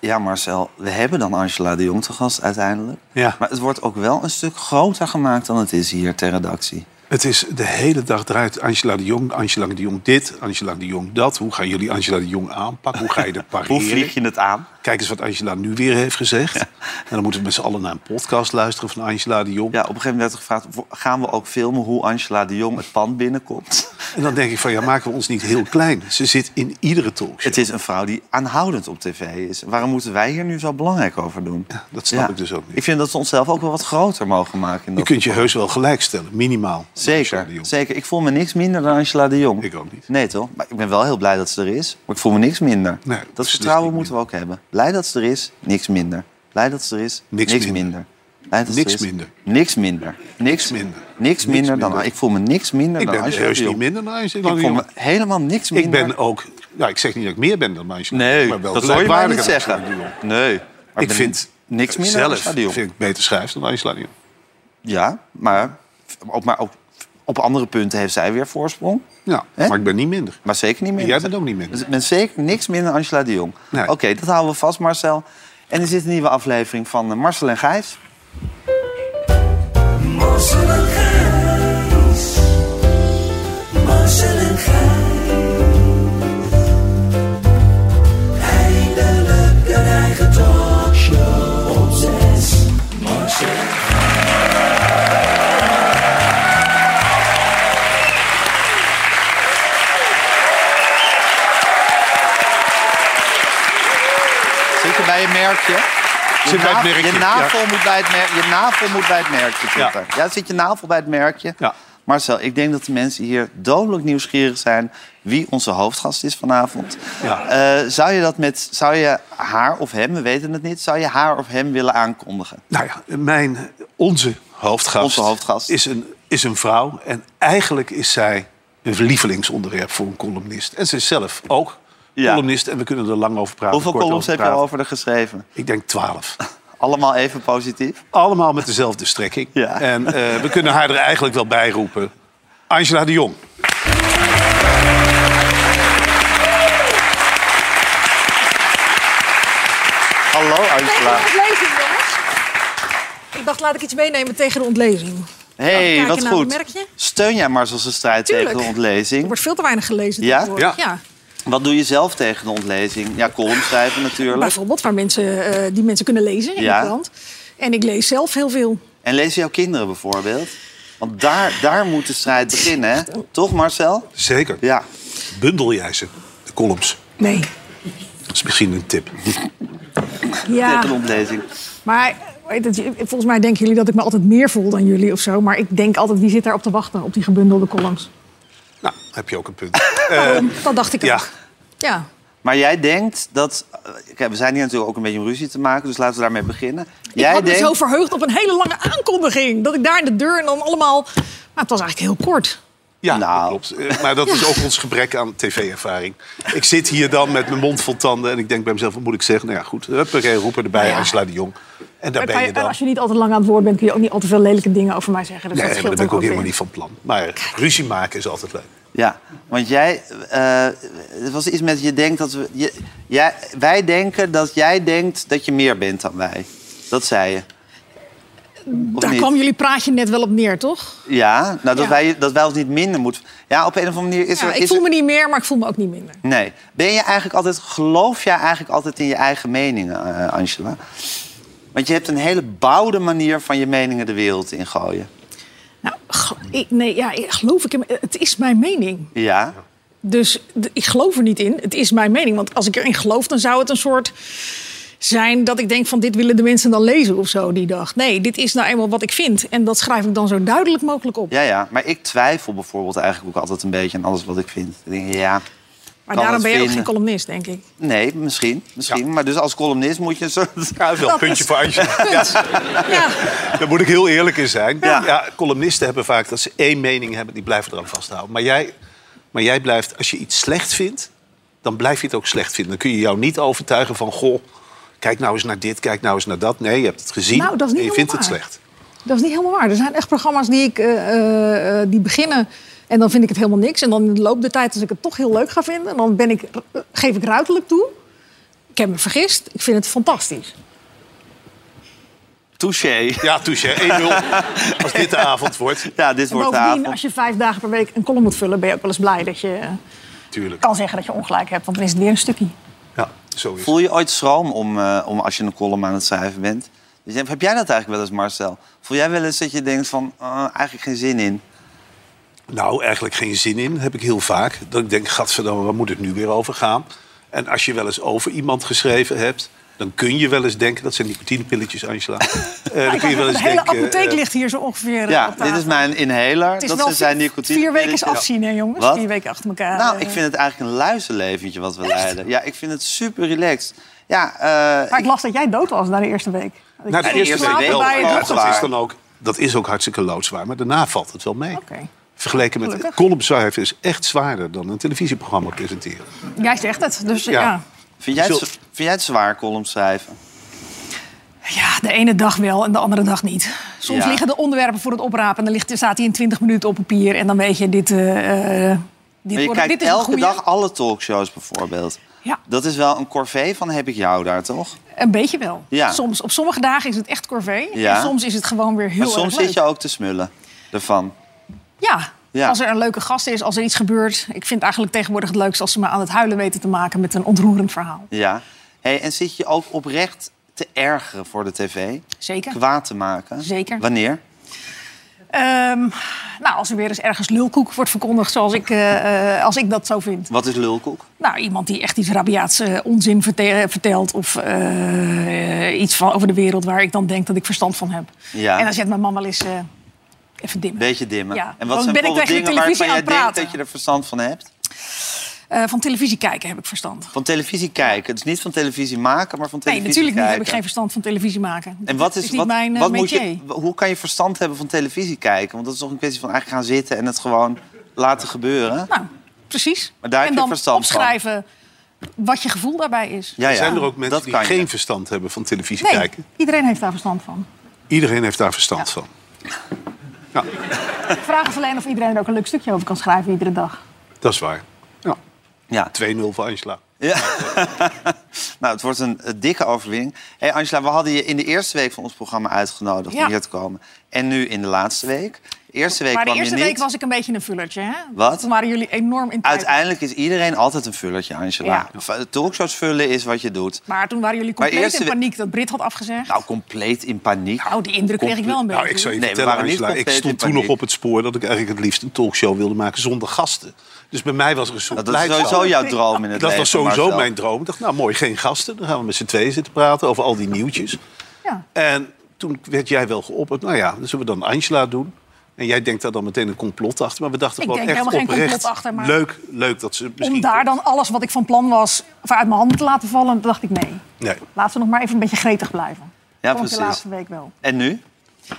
ja, Marcel, we hebben dan Angela de Jong te gast uiteindelijk. Ja. Maar het wordt ook wel een stuk groter gemaakt dan het is hier ter redactie. Het is de hele dag draait Angela de Jong, Angela de Jong dit, Angela de Jong dat. Hoe gaan jullie Angela de Jong aanpakken? Hoe ga je dat Hoe pareren? vlieg je het aan? Kijk eens wat Angela nu weer heeft gezegd. En dan moeten we met z'n allen naar een podcast luisteren van Angela de Jong. Ja, op een gegeven moment werd er gevraagd... wo- gaan we ook filmen hoe Angela de Jong het pand binnenkomt? En dan denk ik van, ja, maken we ons niet heel klein. Ze zit in iedere talkshow. Het is een vrouw die aanhoudend op tv is. Waarom moeten wij hier nu zo belangrijk over doen? dat snap ik dus ook niet. Ik vind dat ze onszelf ook wel wat groter mogen maken. In Je dat kunt je heus wel gelijk stellen, minimaal. met Angela de Zeker, Jong. zeker. Ik voel me niks minder dan Angela de Jong. Ik ook niet. Nee, toch? Maar ik ben wel heel blij dat ze er is. Maar ik voel me niks minder. Nee, dat beslist vertrouwen niet moeten we ook hebben. Blij dat ze er is, niks minder. Blij dat ze er is, niks, Niks minder. minder. Blij dat ze Niks er is, minder. Niks minder. Niks minder. Niks Niks minder dan... minder. Ik voel me niks minder Ik dan ben Nou, Angela dus heus de niet Jong. minder dan Angela de Ik voel Jong. me helemaal niks Ik minder. ben ook... Nou, ik zeg niet dat ik meer ben dan Angela de Nee, Jong, maar wel dat zou je mij niet gelijkwaardig aan zeggen. Angela de Jong. Nee. maar Ik ben vind Niks minder dan zelf Angela de Jong. vind ik beter schrijf dan Angela de Jong. Ja, maar ook, maar ook op andere punten heeft zij weer voorsprong. Ja, Hè? maar ik ben niet minder. Maar zeker niet minder. Jij bent ook niet minder. Dus ik ben zeker niks minder dan Angela de Jong. Nee. Oké, dat houden we vast, Marcel. En er zit een nieuwe aflevering van eh, Marcel en Gijs. Marcel en Gijs. Marcel en Gijs. Eindelijk een eigen talkshow op zes. Marcel en Gijs. Zit je bij je merkje? Je, Zit bij na- het merkje, je, navel moet bij het mer- je navel moet bij het merkje zitten. Ja. Ja. zit je navel bij het merkje? Ja. Marcel, ik denk dat de mensen hier dodelijk nieuwsgierig zijn... wie onze hoofdgast is vanavond. Ja. Eh, zou, je dat met, zou je haar of hem, we weten het niet... zou je haar of hem willen aankondigen? Nou ja, mijn, onze hoofdgast, Onze hoofdgast. Is, een, is een vrouw. En eigenlijk is zij een lievelingsonderwerp voor een columnist. En ze is zelf ook Ja. columnist. En we kunnen er lang over praten. Hoeveel kort columns heb je praten. over haar geschreven? Ik denk twaalf. Allemaal even positief? Allemaal met dezelfde strekking. Ja. En eh, we kunnen haar er eigenlijk wel bij roepen. Angela de Jong. Hallo Tegen Angela. de ontlezing, jongens. Ik dacht, laat ik iets meenemen tegen de ontlezing. Hey, Kijken wat naar goed. het merkje. Steun jij Marcel's strijd nou, Tuurlijk. tegen de Er ontlezing? wordt veel te weinig gelezen. Ja? tegenwoordig. Ja. Wat doe je zelf tegen de ontlezing? Ja, column schrijven natuurlijk. Bijvoorbeeld waar mensen, eh, die mensen kunnen lezen in Ja. de krant. En ik lees zelf heel veel. En lezen jouw kinderen bijvoorbeeld? Want daar, daar moet de strijd beginnen, hè? Toch Marcel? Zeker. Ja. Bundel jij ze, de columns. Nee. Dat is misschien een tip. Ja, Tegen de ontlezing. maar weet het, volgens mij denken jullie dat ik me altijd meer voel dan jullie of zo. Maar ik denk altijd, wie zit daar op te wachten op die gebundelde columns? Nou, heb je ook een punt. Daarom, dat dacht ik ja. ook. Ja. Maar jij denkt dat... eh, Kijk, we zijn hier natuurlijk ook een beetje om ruzie te maken, dus laten we daarmee beginnen. Jij ik had dus denkt... me zo verheugd op een hele lange aankondiging. Dat ik daar in de deur en dan allemaal... Maar het was eigenlijk heel kort. Ja, dat Nou. klopt. Eh, Maar dat is ook ons gebrek aan tv-ervaring. Ik zit hier dan met mijn mond vol tanden en ik denk bij mezelf, wat moet ik zeggen? Nou ja, goed, huppakee, roepen erbij, Nou ja. Angela de Jong. En daar Maar ben kan je je- dan. Als je niet altijd lang aan het woord bent, kun je ook niet al te veel lelijke dingen over mij zeggen. Dus Nee, dat maar daar scheelt ben ik ook dan helemaal weer. niet van plan. Maar ruzie maken is altijd leuk. Ja, want jij... eh, het was iets met je denkt dat we... je- jij, wij denken dat jij denkt dat je meer bent dan wij. Dat zei je. Of Daar niet? kwam jullie praatje net wel op neer, toch? Ja, nou, dat, Ja. Wij, dat wij ons niet minder moeten... Ja, op een of andere manier is Ja, er... ik is voel er- me niet meer, maar ik voel me ook niet minder. Nee. Ben je eigenlijk altijd, geloof jij eigenlijk altijd in je eigen meningen, eh, Angela? Want je hebt een hele bouwde manier van je meningen de wereld in gooien. Nou, gel- ik, nee, ja, ik- geloof ik in. Het is mijn mening. Ja. Dus d- ik geloof er niet in. Het is mijn mening. Want als ik erin geloof, dan zou het een soort zijn dat ik denk van dit willen de mensen dan lezen of zo die dag. Nee, dit is nou eenmaal wat ik vind. En dat schrijf ik dan zo duidelijk mogelijk op. ja, ja. Maar ik twijfel bijvoorbeeld eigenlijk ook altijd een beetje aan alles wat ik vind. Ik denk, ja, maar kan daarom het ben je ook vinden. geen columnist, denk ik. nee, misschien. misschien. Maar dus als columnist moet je een soort... wel Dat puntje is- voor Angela. Punt. ja. Daar moet ik heel eerlijk in zijn. Ja. Ja. columnisten hebben vaak dat ze één mening hebben, die blijven eraan vasthouden. Maar jij, maar jij blijft, als je iets slecht vindt, dan blijf je het ook slecht vinden. Dan kun je jou niet overtuigen van, goh, kijk nou eens naar dit, kijk nou eens naar dat. Nee, je hebt het gezien Nou, dat is niet en je vindt het helemaal waar. slecht. Dat is niet helemaal waar. Er zijn echt programma's die ik eh, eh, eh, die beginnen en dan vind ik het helemaal niks. En dan in de loop der tijd, als ik het toch heel leuk ga vinden, dan ben ik, geef ik ruiterlijk toe ik heb me vergist. Ik vind het fantastisch. Touché. Ja, touche. 1-0. Als dit de avond wordt. Ja, dit En wordt de bovendien, avond. als je vijf dagen per week een column moet vullen... ben je ook wel eens blij dat je eh, Tuurlijk. kan zeggen dat je ongelijk hebt. Want dan is het weer een stukje. Ja, zo is het. Voel je ooit schroom om, eh, om als je een column aan het schrijven bent? Dus je- heb jij dat eigenlijk wel eens, Marcel? Voel jij wel eens dat je denkt van, eh, eigenlijk geen zin in? Nou, eigenlijk geen zin in. Heb ik heel vaak. Dat ik denk, gadverdamme, waar moet het nu weer over gaan? En als je wel eens over iemand geschreven hebt... dan kun je wel eens denken... dat zijn nicotinepilletjes, Angela. Eh, dan kun je wel de eens hele denken... apotheek eh, ligt hier zo ongeveer eh, Ja, op dit is tafel. mijn inhaler. Het is Dat wel ze zijn vier, nicotine. vier weken is afzien, hè, jongens? Wat? Vier weken achter elkaar. Nou, eh. ik vind het eigenlijk een luizenleventje wat we leiden. Ja, ik vind het super relaxed. Ja, eh, Maar ik las dat jij dood was na de eerste week. Dat ik Na nou, de niet eerste slapen week wel. bij Ja, het Maar dochter. dat opgaan. is dan ook... Dat is ook hartstikke loodzwaar, maar daarna valt het wel mee. Oké. Vergeleken met Gelukkig. columnschrijven is echt zwaarder dan een televisieprogramma presenteren. Jij zegt het, dus ja. Ja. ja. vind, jij het, Zul- vind jij het zwaar, column schrijven? de ene dag wel en de andere dag niet. Soms Ja. liggen de onderwerpen voor het oprapen... en dan ligt, staat hij in 20 minuten op papier... en dan weet je, dit, eh, eh, dit, Maar je wordt- kijkt dit is een elke goeie. dag alle talkshows bijvoorbeeld. Ja. Dat is wel een corvée van heb ik jou daar, toch? Een beetje wel. Ja. Soms, op sommige dagen is het echt corvée. Ja. En soms is het gewoon weer heel Maar erg soms leuk. zit je ook te smullen ervan. Ja. Ja. Als er een leuke gast is, als er iets gebeurt. Ik vind het eigenlijk tegenwoordig het leukst als ze me aan het huilen weten te maken met een ontroerend verhaal. Ja. Hey, en zit je ook oprecht te ergeren voor de tv? Zeker. Kwaad te maken? Zeker. Wanneer? Ehm, nou, als er weer eens ergens lulkoek wordt verkondigd, zoals ik, eh, eh, als ik dat zo vind. Wat is lulkoek? Nou, iemand die echt iets rabiaats eh, onzin verte- vertelt. Of eh, eh, iets van, over de wereld waar ik dan denk dat ik verstand van heb. Ja. En dan zet mijn man wel eens eh, even dimmen. Beetje dimmen. Ja. En Dan wat zijn ben ik bijvoorbeeld tegen de dingen waarvan televisie jij aan het denkt praten. dat je er verstand van hebt? Eh, van televisie kijken heb ik verstand. Van televisie kijken. Dus niet van televisie maken, maar van Nee, televisie natuurlijk niet. kijken. Heb ik geen verstand van televisie maken. En wat Dat is, niet wat, mijn eh, wat moet métier. je, w- hoe kan je verstand hebben van televisie kijken? Want dat is toch een kwestie van eigenlijk gaan zitten en het gewoon laten gebeuren. Nou, precies. Maar daar heb en je dan verstand van. opschrijven wat je gevoel daarbij is. Ja, ja, Zijn er ook mensen dat die kan je. geen verstand hebben van televisie nee, kijken? iedereen heeft daar verstand van. Iedereen heeft daar verstand van. De vraag is alleen of iedereen er ook een leuk stukje over kan schrijven iedere dag. Dat is waar. Ja. Ja. 2-0 voor Angela. Nou, het wordt een, eh, dikke overwinning. Hé Angela, we hadden je in de eerste week van ons programma uitgenodigd Ja. om hier te komen. En nu in de laatste week. De eerste week maar de kwam eerste je niet. week was ik een beetje een vullertje. Hè? Wat? Toen waren jullie enorm in tijd. Uiteindelijk is iedereen altijd een vullertje, Angela. Ja. V- Talkshows vullen is wat je doet. Maar toen waren jullie compleet eerste in we- paniek dat Brit had afgezegd. Nou, compleet in paniek. Nou, die indruk kreeg ik wel een beetje. Nou, ik zou je Nee, we vertellen, waren niet Angela, ik compleet in stond toen paniek. nog op het spoor dat ik eigenlijk het liefst een talkshow wilde maken zonder gasten. Dus bij mij was er een soort Nou, dat is blijdschap. sowieso jouw droom in het Dat leven, was sowieso Marcel. mijn droom. Ik dacht, nou mooi, geen gasten. Dan gaan we met z'n tweeën zitten praten over al die nieuwtjes. Ja. En toen werd jij wel geopperd. Nou ja, dan zullen we dan Angela doen. En jij denkt daar dan meteen een complot achter. Maar we dachten Ik gewoon echt denk helemaal geen oprecht. complot achter, maar- leuk, leuk dat ze misschien... Om daar dan alles wat ik van plan was of uit mijn handen te laten vallen, toen dacht ik nee. Nee. Laten we nog maar even een beetje gretig blijven. Ja, Vond ik precies. de laatste week wel. En nu?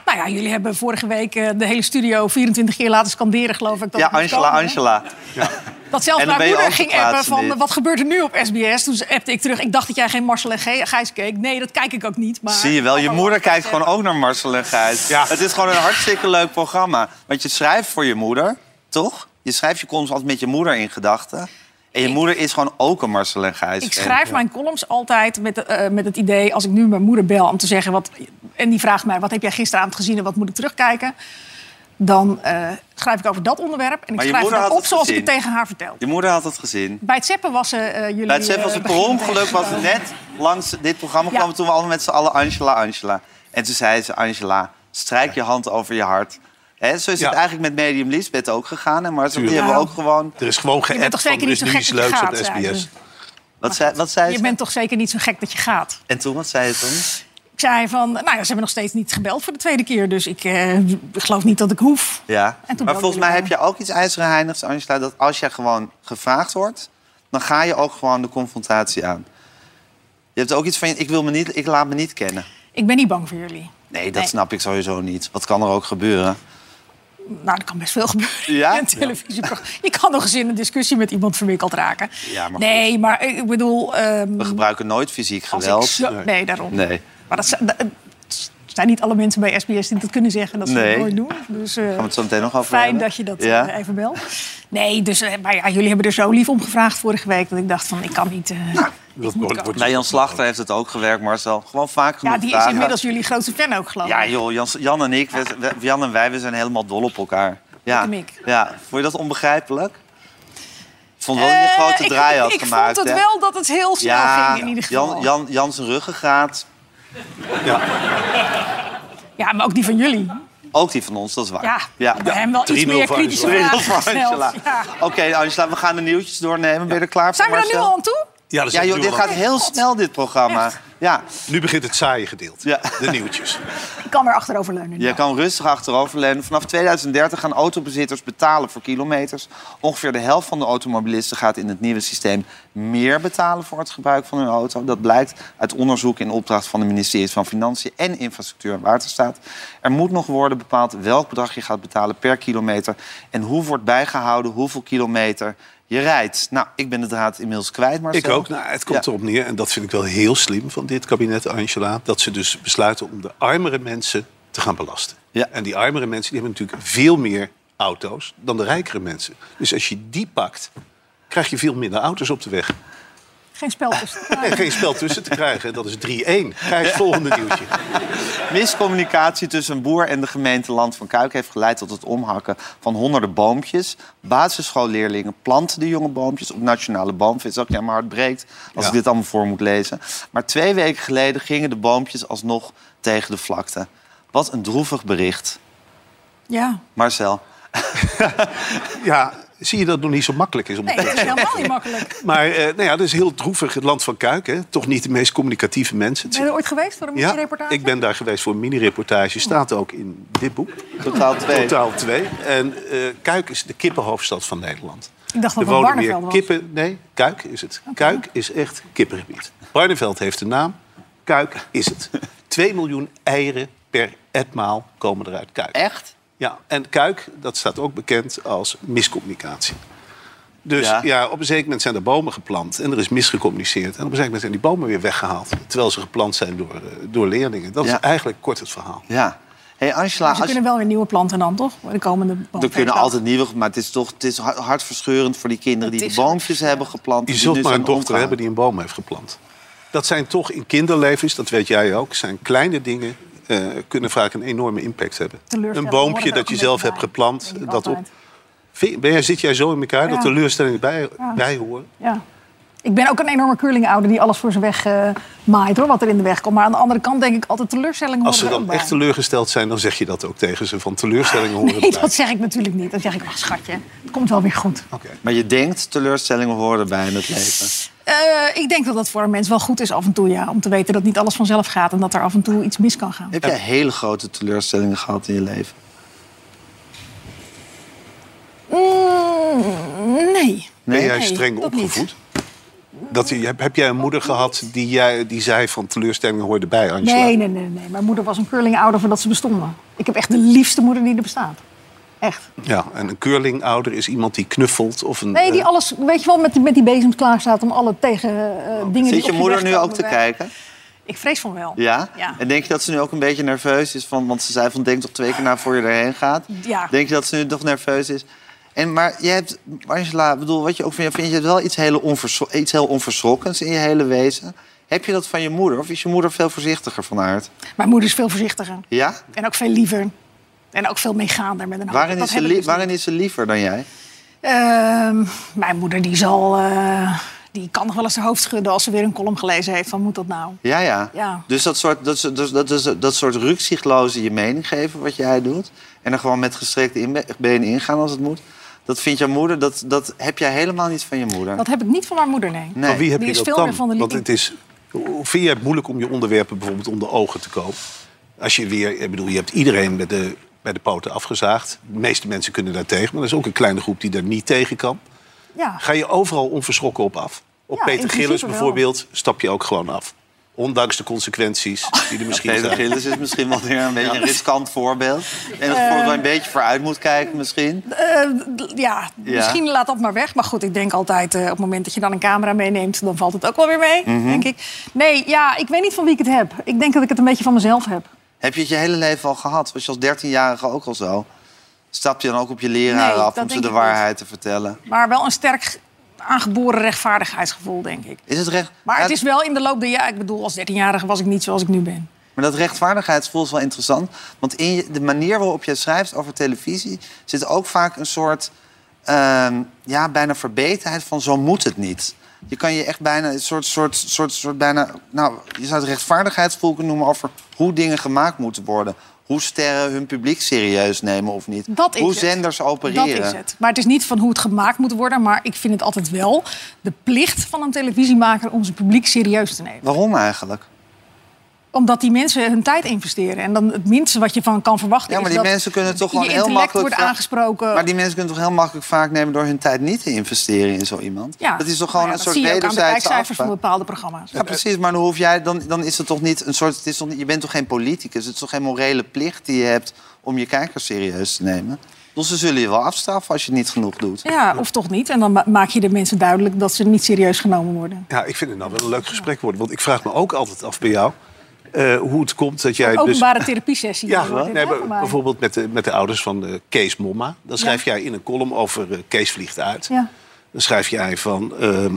Nou ja, jullie hebben vorige week eh, de hele studio 24 keer laten scanderen, geloof ik. Dat Ja, het moest Angela, komen, hè? Angela. Dat En zelfs dan mijn ben je moeder ook ging de appen plaatsen van niet. eh, wat gebeurt er nu op SBS? Toen appte ik terug. Ik dacht dat jij geen Marcel en Ge- Gijs keek. Nee, dat kijk ik ook niet. Maar... Oh, Zie je wel, je moeder kijkt gewoon ook naar Marcel en Gijs. Ja. Het is gewoon een hartstikke leuk programma. Want je schrijft voor je moeder, toch? Je schrijft je columns altijd met je moeder in gedachten. En je moeder is gewoon ook een Marcel en Gijs. Ik fan. schrijf mijn columns altijd met, eh, met het idee... als ik nu mijn moeder bel om te zeggen... Wat, en die vraagt mij, wat heb jij gisteravond gezien en wat moet ik terugkijken? Dan eh, schrijf ik over dat onderwerp. En ik Maar je schrijf moeder het had dan op het zoals ik gezien. het tegen haar vertel. Je moeder had het gezien. Bij het zeppen was eh, eh, jullie... Bij het Zef eh, was het per begin ongeluk, was het tegengekomen. net langs dit programma Ja. kwam... toen we allemaal met z'n allen Angela, Angela. En toen zei ze, Angela, strijk je hand over je hart. Hè, zo is het Ja. eigenlijk met Medium Lisbeth ook gegaan. En Marcel, die Tuurlijk. hebben we ook gewoon... Er is gewoon bent geappt toch van, zeker er is niet nu zo iets gek dat je leuks op gaat, eh, SBS. zei ze. Wat zei, wat zei Je ze? bent toch zeker niet zo gek dat je gaat? En toen, wat zei ze toen? Ik zei van, nou ja, ze hebben nog steeds niet gebeld voor de tweede keer. Dus ik eh, geloof niet dat ik hoef. Ja, En toen maar belde volgens mij jullie heb je ook iets ijzeren heinigs, Angela... dat als je gewoon gevraagd wordt, dan ga je ook gewoon de confrontatie aan. Je hebt ook iets van, ik, wil me niet, ik laat me niet kennen. Ik ben niet bang voor jullie. Nee, dat Nee. snap ik sowieso niet. Wat kan er ook gebeuren? Nou, er kan best veel gebeuren Ja? in een televisieprogramma. Je kan nog eens in een discussie met iemand verwikkeld raken. Ja, maar nee, maar ik bedoel... ehm, We gebruiken nooit fysiek als ik geweld. zo- nee. daarom. Nee. Maar dat, z- dat- zijn niet alle mensen bij SBS die dat kunnen zeggen. Dat ze Nee. dat nooit doen. Dus, eh, we het zo meteen nog over Fijn hebben. dat je dat Ja. eh, even belt. Nee, dus, eh, maar ja, jullie hebben er zo lief om gevraagd vorige week... dat ik dacht van, ik kan niet... Nou, eh, Dat wordt- wordt- Bij Jan Slachter heeft het ook gewerkt, Marcel. Gewoon vaak genoeg ja, die is vragen. inmiddels jullie grootste fan ook, geloof ik. Ja, joh, Jan, Jan en ik, we- we- Jan en wij, we zijn helemaal dol op elkaar. Ja. Ik en ik. ja. Vond je dat onbegrijpelijk? Ik vond wel dat je een Eh, grote ik- draai had ik, gemaakt. vond het hè? wel dat het heel snel Ja, ging in ieder geval. Jan, Jan, Jan zijn ruggengraat. Ja, maar ook die van jullie. Ook die van ons, dat is waar. Ja, bij hem wel iets 3-0 meer voor kritische Angela. vragen Van Angela. gesteld. Ja. Oké, Angela, we gaan de nieuwtjes doornemen. Ben je er klaar voor, Zijn we er nu Marcel? al aan toe? Ja, dat is Ja, joh, dit gaat heel snel, dit programma. Echt? Ja, Nu begint het saaie gedeelte. Ja. De nieuwtjes. Ik kan weer achteroverleunen. je kan rustig achteroverleunen. Vanaf 2030 gaan autobezitters betalen voor kilometers. Ongeveer de helft van de automobilisten gaat in het nieuwe systeem meer betalen voor het gebruik van hun auto. Dat blijkt uit onderzoek in opdracht van de ministeries van Financiën en Infrastructuur en Waterstaat. Er moet nog worden bepaald welk bedrag je gaat betalen per kilometer en hoe wordt bijgehouden hoeveel kilometer je rijdt. Nou, ik ben de draad inmiddels kwijt, maar Ik ook. Nou, het komt Ja. erop neer, en dat vind ik wel heel slim van dit kabinet, Angela... dat ze dus besluiten om de armere mensen te gaan belasten. Ja. En die armere mensen die hebben natuurlijk veel meer auto's dan de rijkere mensen. Dus als je die pakt, krijg je veel minder auto's op de weg. Geen spel dus. tussen. En geen spel tussen te krijgen. Dat is 3-1. Krijg het volgende nieuwtje. Miscommunicatie tussen een boer en de gemeente Land van Kuik heeft geleid tot het omhakken van honderden boompjes. Basisschoolleerlingen planten de jonge boompjes op nationale boomvis. Ook ja, mijn hart breekt als Ja. ik dit allemaal voor moet lezen. Maar twee weken geleden gingen de boompjes alsnog tegen de vlakte. Wat een droevig bericht. Ja, Marcel, Ja, zie je dat het nog niet zo makkelijk is om nee, het dat is helemaal niet makkelijk. Maar eh, nou ja, dat is heel droevig. Het land van Kuik, hè? toch niet de meest communicatieve mensen. Het Ben je er ooit geweest voor een Ja, reportage? ik ben daar geweest voor een mini-reportage. Staat ook in dit boek. totaal twee. Totaal twee. En eh, Kuik is de kippenhoofdstad van Nederland. Ik dacht dat er het wonen Barneveld meer was. kippen. Nee, Kuik is het. Kuik is echt kippengebied. Barneveld heeft de naam. Kuik is het. Twee miljoen eieren per etmaal komen er uit Kuik. Echt? Ja, en Kuik, dat staat ook bekend als miscommunicatie. Dus Ja. ja. op een zeker moment zijn er bomen geplant en er is misgecommuniceerd. En op een zeker moment zijn die bomen weer weggehaald. Terwijl ze geplant zijn door, eh, door leerlingen. Dat Ja. is eigenlijk kort het verhaal. Ja. hey Angela, Ze als je- kunnen wel weer nieuwe planten dan, toch? De komende er boomfeestdag. kunnen altijd nieuwe, maar het is toch het is hart- hartverscheurend voor die kinderen Het die de is- boompjes hebben geplant. Je die zult nu maar een zijn dochter omgehaald. hebben die een boom heeft geplant. Dat zijn toch in kinderlevens, dat weet jij ook, zijn kleine dingen... eh, kunnen vaak een enorme impact hebben. Teleurstellingen Een horen boompje er dat ook je een zelf beetje hebt bij. geplant. Denk ik Dat op, altijd. Vind- ben jij, zit jij zo in elkaar dat Ja. teleurstellingen bij, Ja. bij horen? Ja. Ik ben ook een enorme curlingouder die alles voor zijn weg eh, maait, hoor, wat er in de weg komt. Maar aan de andere kant denk ik altijd teleurstelling Als ze horen er ook dan bij. echt teleurgesteld zijn, dan zeg je dat ook tegen ze. Van teleurstellingen horen Nee, erbij. dat zeg ik natuurlijk niet. Dan zeg ik, ach schatje, het komt wel weer goed. Oké. Maar je denkt, teleurstellingen horen erbij in het leven. Eh, ik denk dat dat voor een mens wel goed is af en toe, ja. Om te weten dat niet alles vanzelf gaat en dat er af en toe iets mis kan gaan. Heb jij hele grote teleurstellingen gehad in je leven? Mm, nee. Ben jij Nee, streng dat opgevoed? Dat, je- heb, heb jij een moeder gehad die, jij, die zei van teleurstellingen horen erbij, Angela? Nee, nee, nee, nee. Mijn moeder was een curlingouder voordat ze bestonden. Ik heb echt de liefste moeder die er bestaat. Echt. Ja, en een curlingouder is iemand die knuffelt of een... Nee, die eh, alles, weet je wel, met, die- met die bezem klaar staat om alle tegen eh, dingen die Zit op je moeder weg nu komen ook te weg- kijken? Ik vrees van wel. Ja? Ja. En denk je dat ze nu ook een beetje nerveus is? Van, want ze zei van denk toch twee keer na voor je erheen gaat. Ja. Denk je dat ze nu toch nerveus is? En, maar jij hebt, Angela, ik bedoel, wat je ook vindt, vind je hebt wel iets, hele onverschro- iets heel onverschrokkens in je hele wezen. Heb je dat van je moeder? Of is je moeder veel voorzichtiger van aard? Mijn moeder is veel voorzichtiger. Ja? En ook veel liever. En ook veel meegaander met een hoofd. Waarin Dat is, ze heb ik li- dus waarin is ze liever dan jij? Ehm, mijn moeder die zal, eh, die kan nog wel eens haar hoofd schudden als ze weer een column gelezen heeft. Van moet dat nou? Ja, ja. Ja. Dus dat soort, dat, soort- dus dat, dus dat soort rukzichtloze je mening geven, wat jij doet... en er gewoon met gestrekte inbe- benen ingaan als het moet... dat vindt jouw moeder, dat, dat heb jij helemaal niet van je moeder. Dat heb ik niet van mijn moeder, nee. Nee. Van wie heb Die je is dat veel dan? meer van de li- Want het is, hoe- vind jij het moeilijk om je onderwerpen bijvoorbeeld onder ogen te komen? Als je weer, ik bedoel, je hebt iedereen bij de, bij de poten afgezaagd. De meeste mensen kunnen daar tegen, maar er is ook een kleine groep die daar niet tegen kan. Ja. Ga je overal onverschrokken op af? Op Ja, in Peter principe Gillis wel. bijvoorbeeld stap je ook gewoon af. Ondanks de Oh. consequenties die er misschien Peter zijn. Gillis is dus misschien wel weer een beetje een riskant voorbeeld. En dat voorbeeld waar je een beetje vooruit moet kijken misschien. Eh, d- ja, misschien laat dat maar weg. Maar goed, ik denk altijd eh, op het moment dat je dan een camera meeneemt... dan Mhm. valt het ook wel weer mee, denk ik. Nee, ja, ik weet niet van wie ik het heb. Ik denk dat ik het een beetje van mezelf heb. Heb je het je hele leven al gehad? Was je als 13-jarige ook al zo? Stap je dan ook op je leraar Nee, af dat om ze denk de ik niet. waarheid te vertellen? Maar wel een sterk aangeboren rechtvaardigheidsgevoel, denk ik. Is het recht... Maar Ja, het is wel in de loop der jaren... Ik bedoel, als 13-jarige was ik niet zoals ik nu ben. Maar dat rechtvaardigheidsgevoel is wel interessant. Want in je- de manier waarop je schrijft over televisie... zit ook vaak een soort ehm, ja, bijna verbetenheid van zo moet het niet. Je kan je echt bijna een soort, soort, soort, soort bijna... Nou, je zou het rechtvaardigheidsgevoel kunnen noemen over hoe dingen gemaakt moeten worden. Hoe sterren hun publiek serieus nemen of niet. Dat is hoe het. zenders opereren. Dat is het. Maar het is niet van hoe het gemaakt moet worden. Maar ik vind het altijd wel de plicht van een televisiemaker... om zijn publiek serieus te nemen. Waarom eigenlijk? Omdat die mensen hun tijd investeren. En dan het minste wat je van kan verwachten Ja, maar is die dat mensen kunnen toch je gewoon heel intellect makkelijk... wordt vra- aangesproken. Maar die mensen kunnen toch heel makkelijk vaak nemen... door hun tijd niet te investeren in zo iemand? Ja. Dat is toch gewoon Nou ja, een soort Dat zie je ook aan de wederzijdse kijkcijfers van afspraak? bepaalde programma's. Ja, precies, maar dan hoef jij, dan, dan is het toch niet een soort. Het is toch niet, je bent toch geen politicus? Het is toch geen morele plicht die je hebt om je kijkers serieus te nemen? Dus ze zullen je wel afstraffen als je het niet genoeg doet. Ja, of toch niet. En dan ma- maak je de mensen duidelijk dat ze niet serieus genomen worden. Ja, ik vind het nou wel een leuk gesprek worden. Want ik vraag me ook altijd af bij jou... eh, hoe het komt dat jij dus... Openbare therapie-sessie. Ja, wordt dit, nee, hè, maar voor mij. bijvoorbeeld met de, met de ouders van eh, Kees Momma. Dan schrijf jij in een column over eh, Kees vliegt uit. Ja. Dan schrijf jij van... ehm,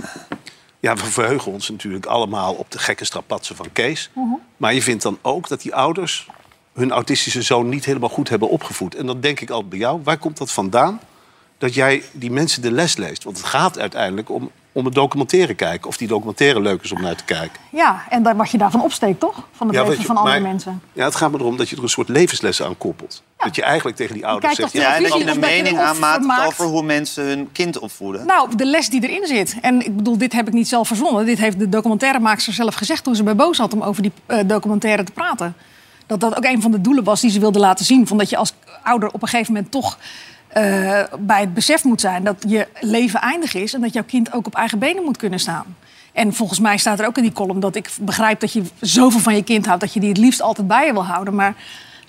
ja, we verheugen ons natuurlijk allemaal op de gekke strapatsen van Kees. Maar je vindt dan ook dat die ouders hun autistische zoon niet helemaal goed hebben opgevoed. En dan denk ik altijd bij jou, waar komt dat vandaan? Dat jij die mensen de les leest. Want het gaat uiteindelijk om, om een documentaire kijken. Of die documentaire leuk is om naar te kijken. ja, en dan, wat je daarvan opsteekt, toch? Van het weet leven je, van andere maar- mensen. Ja, het gaat me erom dat je er een soort levenslessen aan koppelt. Dat je eigenlijk tegen die ouders kijkt zegt... of Ja, Ja, en dat je een televisie of dat je mening een aanmaakt offer maakt. over hoe mensen hun kind opvoeden. Nou, de les die erin zit. En ik bedoel, dit heb ik niet zelf verzonnen. Dit heeft de documentairemaakster zelf gezegd toen ze bij Bo zat om over die eh, documentaire te praten. Dat dat ook een van de doelen was die ze wilde laten zien. Van dat je als ouder op een gegeven moment toch eh, bij het besef moet zijn dat je leven eindig is en dat jouw kind ook op eigen benen moet kunnen staan. En volgens mij staat er ook in die column dat ik begrijp dat je zoveel van je kind houdt dat je die het liefst altijd bij je wil houden. Maar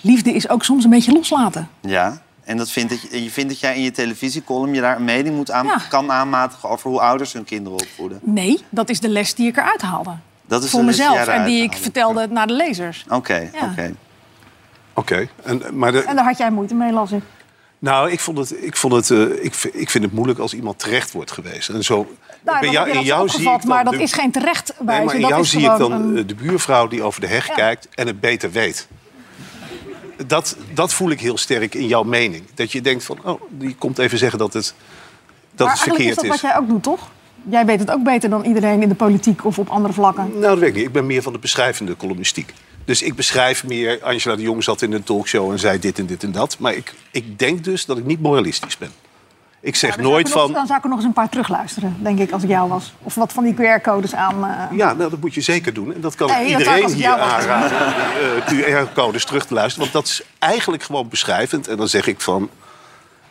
liefde is ook soms een beetje loslaten. Ja. En dat vindt dat je, en je vindt dat jij in je televisiecolumn je daar een mening moet aan, Ja. kan aanmatigen over hoe ouders hun kinderen opvoeden. Nee, dat is de les die ik eruit haalde. Dat is voor de les die mezelf jij en die eruit ik haalde. vertelde naar de lezers. Oké, Ja. oké. Oké, en maar de- En daar had jij moeite mee, las ik. nou, ik, vond het, ik, vond het, eh, ik, v- ik vind het moeilijk als iemand terecht wordt geweest. En zo, Nou, bij want jou- ik ben in jou dat zie opgevat, ik dan maar dat de- is geen terecht Nee, maar in jou zie ik dan eh, de buurvrouw die over de heg Ja. kijkt en het beter weet. Dat, dat voel ik heel sterk in jouw mening. Dat je denkt van, oh, die komt even zeggen dat het, dat maar het eigenlijk is verkeerd dat is. wat jij ook doet, toch? Jij weet het ook beter dan iedereen in de politiek of op andere vlakken. Nou, dat weet ik niet. Ik ben meer van de beschrijvende columnistiek. Dus ik beschrijf meer... Angela de Jong zat in een talkshow en zei dit en dit en dat. Maar ik, ik denk dus dat ik niet moralistisch ben. Ik zeg Dan zou ik nooit er nog- Dan van... zou ik er nog eens een paar terugluisteren, denk ik, als ik jou was. Of wat van die QR-codes aan... eh, Ja, nou, dat moet je zeker doen. En dat kan ik Nee, dat zou ik iedereen als hier ik jou was. aanraden. eh, QR-codes terug te luisteren. Want dat is eigenlijk gewoon beschrijvend. En dan zeg ik van...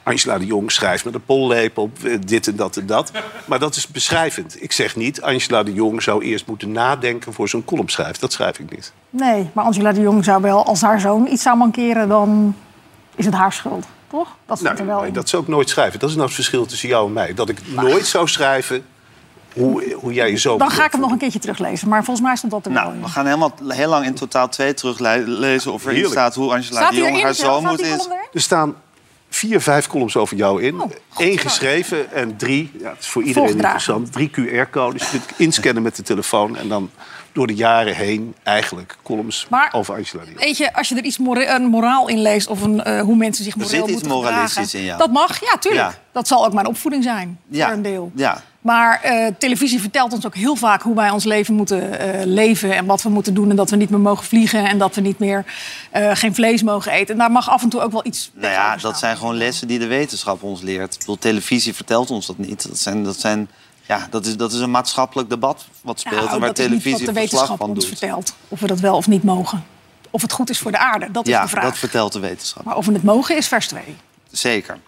Angela de Jong schrijft met een pollepel op eh, dit en dat en dat. Maar dat is beschrijvend. Ik zeg niet, Angela de Jong zou eerst moeten nadenken voor zo'n column schrijft. Dat schrijf ik niet. Nee, maar Angela de Jong zou wel, als haar zoon iets zou mankeren, dan is het haar schuld, toch? Dat zit er Nou, wel nee, in. dat zou ik nooit schrijven. Dat is nou het verschil tussen jou en mij. Dat ik nooit zou schrijven hoe, hoe jij je zo... Dan ga ik hem nog een keertje teruglezen, maar volgens mij stond dat er wel Nou, in. we gaan helemaal heel lang in totaal twee teruglezen of erin Heerlijk. staat hoe Angela Staat de hij Jong erin? haar Staat zoon die moet column is. erin? Er staan vier, vijf columns over jou in. goed Eén zo. geschreven en drie... Ja, het is voor iedereen Volgedragen. interessant. Drie QR-codes. Je kunt inscannen met de telefoon. En dan door de jaren heen eigenlijk columns Maar- over Angela Dion. Weet je, als je er iets more- een moraal in leest of een, eh, hoe mensen zich moreel zit iets moeten gedragen, moralistisch in jou. Dat mag, ja, tuurlijk. Ja. Dat zal ook mijn opvoeding zijn, Ja, voor een deel. ja. Maar eh, televisie vertelt ons ook heel vaak hoe wij ons leven moeten eh, leven... en wat we moeten doen en dat we niet meer mogen vliegen... en dat we niet meer eh, geen vlees mogen eten. En daar mag af en toe ook wel iets Nou ja, dat zijn gewoon lessen die de wetenschap ons leert. Ik bedoel, televisie vertelt ons dat niet. Dat, zijn, dat, zijn, ja, dat, is, dat is een maatschappelijk debat wat speelt... en waar Nou, dat is niet televisie wat de verslag wetenschap van ons doet. vertelt. Of we dat wel of niet mogen. Of het goed is voor de aarde, dat is Ja, de vraag. dat vertelt de wetenschap. Maar of we het mogen is vers 2. Zeker.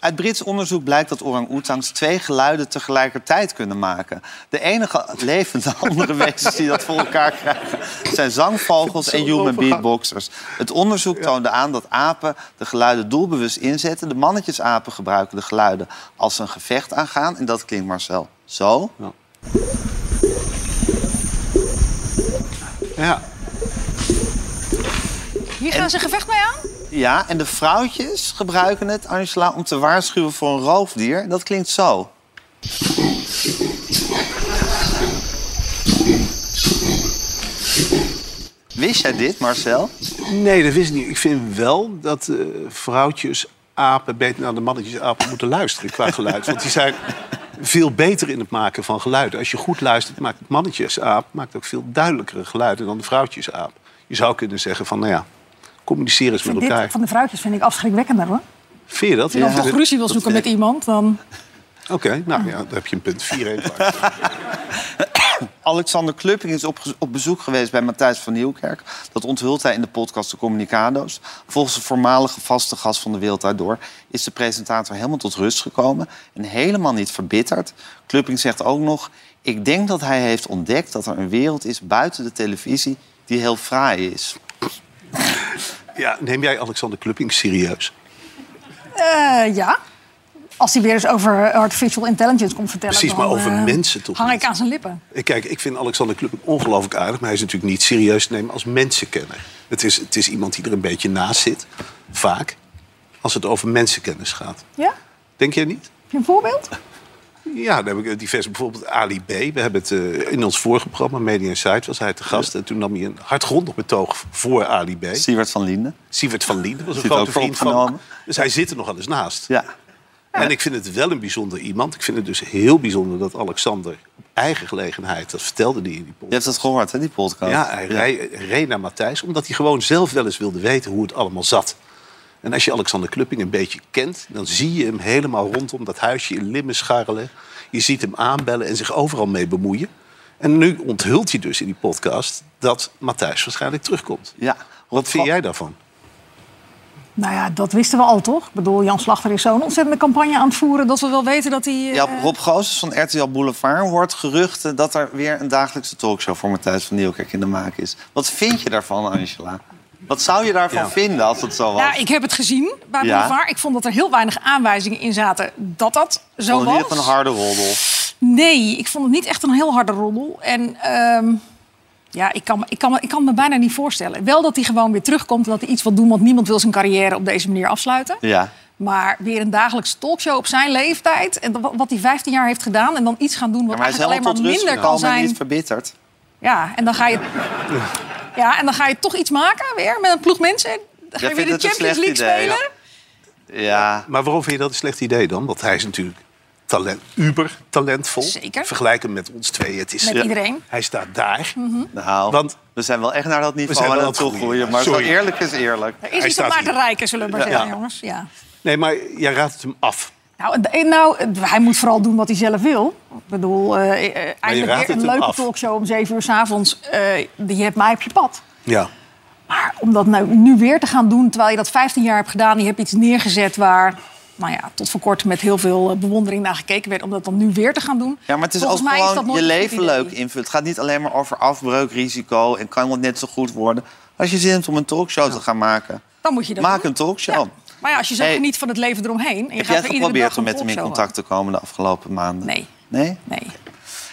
Uit Brits onderzoek blijkt dat orang-oetangs twee geluiden tegelijkertijd kunnen maken. De enige levende andere wezens die dat voor elkaar krijgen zijn zangvogels en human beatboxers. Het onderzoek toonde aan dat apen de geluiden doelbewust inzetten. De mannetjesapen gebruiken de geluiden als ze een gevecht aangaan. En dat klinkt Marcel zo. Ja. Hier gaan ze gevecht mee aan? Ja, en de vrouwtjes gebruiken het, Angela, om te waarschuwen voor een roofdier. En dat klinkt zo. Wist jij dit, Marcel? Nee, dat wist ik niet. Ik vind wel dat eh, vrouwtjes apen beter naar de mannetjes apen moeten luisteren qua geluid. Want die zijn veel beter in het maken van geluiden. Als je goed luistert, maakt het mannetjes aap maakt ook veel duidelijkere geluiden dan de vrouwtjes aap. Je zou kunnen zeggen van, nou ja, communiceer eens met Dit elkaar. van de fruitjes vind ik afschrikwekkender hoor. Vind je dat? En als je nog ruzie wil zoeken met iemand, dan... Oké, nou ja, daar heb je een punt. 4-1. Alexander Klupping is op, op bezoek geweest bij Matthijs van Nieuwkerk. Dat onthult hij in de podcast De Communicado's. Volgens de voormalige vaste gast van de Wereld Daardoor... is de presentator helemaal tot rust gekomen en helemaal niet verbitterd. Klupping zegt ook nog... Ik denk dat hij heeft ontdekt dat er een wereld is buiten de televisie... die heel fraai is. Ja, neem jij Alexander Klupping serieus? Eh, ja. Als hij weer eens over artificial intelligence komt vertellen. Precies, dan, maar over eh, mensen toch Hang niet? ik aan zijn lippen. Ik- Eh, Kijk, ik vind Alexander Klupping ongelooflijk aardig... maar hij is natuurlijk niet serieus te nemen als mensenkenner. Het is, het is iemand die er een beetje naast zit, vaak, als het over mensenkennis gaat. Ja? Heb Denk jij niet? je een voorbeeld? Ja, dan heb ik eh, diverse, bijvoorbeeld Ali B. We hebben het eh, in ons vorige programma, Media Insight, was hij te gast. En toen nam hij een hardgrondig betoog voor Ali B. Siewert van Linden. Sievert van Linden was een Zit grote ook voor vriend van hem. opgenomen. Dus hij zit er nog eens naast. Ja. En ik vind het wel een bijzonder iemand. Ik vind het dus heel bijzonder dat Alexander op eigen gelegenheid, dat vertelde hij in die Je podcast. hebt dat gehoord, hè, die podcast? Ja, hij rij- reed naar Matthijs, omdat hij gewoon zelf wel eens wilde weten hoe het allemaal zat. En als je Alexander Klupping een beetje kent, dan zie je hem helemaal rondom dat huisje in Limmen scharrelen. Je ziet hem aanbellen en zich overal mee bemoeien. En nu onthult hij dus in die podcast dat Matthijs waarschijnlijk terugkomt. Ja. Wat vind jij daarvan? Nou ja, dat wisten we al toch? Ik bedoel, Jan Slachter is zo'n ontzettende campagne aan het voeren dat we wel weten dat hij. eh, Ja, Rob Goossens van RTL Boulevard hoort geruchten... dat er weer een dagelijkse talkshow voor Matthijs van Nieuwkerk in de maak is. Wat vind je daarvan, Angela? Wat zou je daarvan Ja. vinden als het zo was? Nou, ik heb het gezien bij Ja. Boulevard. Ik vond dat er heel weinig aanwijzingen in zaten dat dat zo Vond het niet echt was. een harde roddel. Nee, ik vond het niet echt een heel harde roddel. En ehm, ja, ik kan, me- ik, kan, me- ik kan me bijna niet voorstellen. Wel dat hij gewoon weer terugkomt en dat hij iets wil doen... want niemand wil zijn carrière op deze manier afsluiten. Ja. Maar weer een dagelijkse talkshow op zijn leeftijd... en wa- wat hij 15 jaar heeft gedaan en dan iets gaan doen... wat Maar hij is eigenlijk alleen helemaal maar tot rust gekomen minder kan zijn... en niet zijn. verbitterd. Ja, en dan ga je... Ja, en dan ga je toch iets maken weer met een ploeg mensen. Dan ga Jij je weer vindt het de een Champions slecht League idee, spelen. Ja. Maar waarom vind je dat een slecht idee dan? Want hij is natuurlijk talent, uber talentvol. Zeker. Vergelijk hem met ons twee. Het is, Met iedereen. Hij staat daar. Hm? Nou, Want- we zijn wel echt naar dat zijn niveau wel aan aan het het groeien, toegroeien. ja. Maar zo Sorry. eerlijk is eerlijk. Er Hij is iets staat op naar hier. de rijken, zullen we maar zeggen, Ja. jongens. Ja. Nee, maar jij raadt het hem af. Nou, eh, nou, eh, hij moet vooral doen wat hij zelf wil. Ik bedoel, eh, eh, raadt eindelijk het weer een hem leuke af. talkshow om 7 uur s'avonds. je hebt mij op je pad. Ja. Maar om dat nou nu weer te gaan doen, terwijl je dat 15 jaar hebt gedaan... je hebt iets neergezet waar, nou ja, tot voor kort met heel veel eh, bewondering naar gekeken werd... om dat dan nu weer te gaan doen. Ja, maar het is Volgens ook mij dat gewoon nooit je een goed leven idee. leuk invult. Het gaat niet alleen maar over afbreukrisico en kan het net zo goed worden. Als je zin hebt om een talkshow te gaan maken, Dan moet je dat maak doen. een talkshow. Ja. Maar ja, als je zo Hey. geniet van het leven eromheen... en je Heb gaat jij weer iedere dag geprobeerd om een met hem in talkshow contact te komen de afgelopen maanden? Nee. Nee? aan. Nee.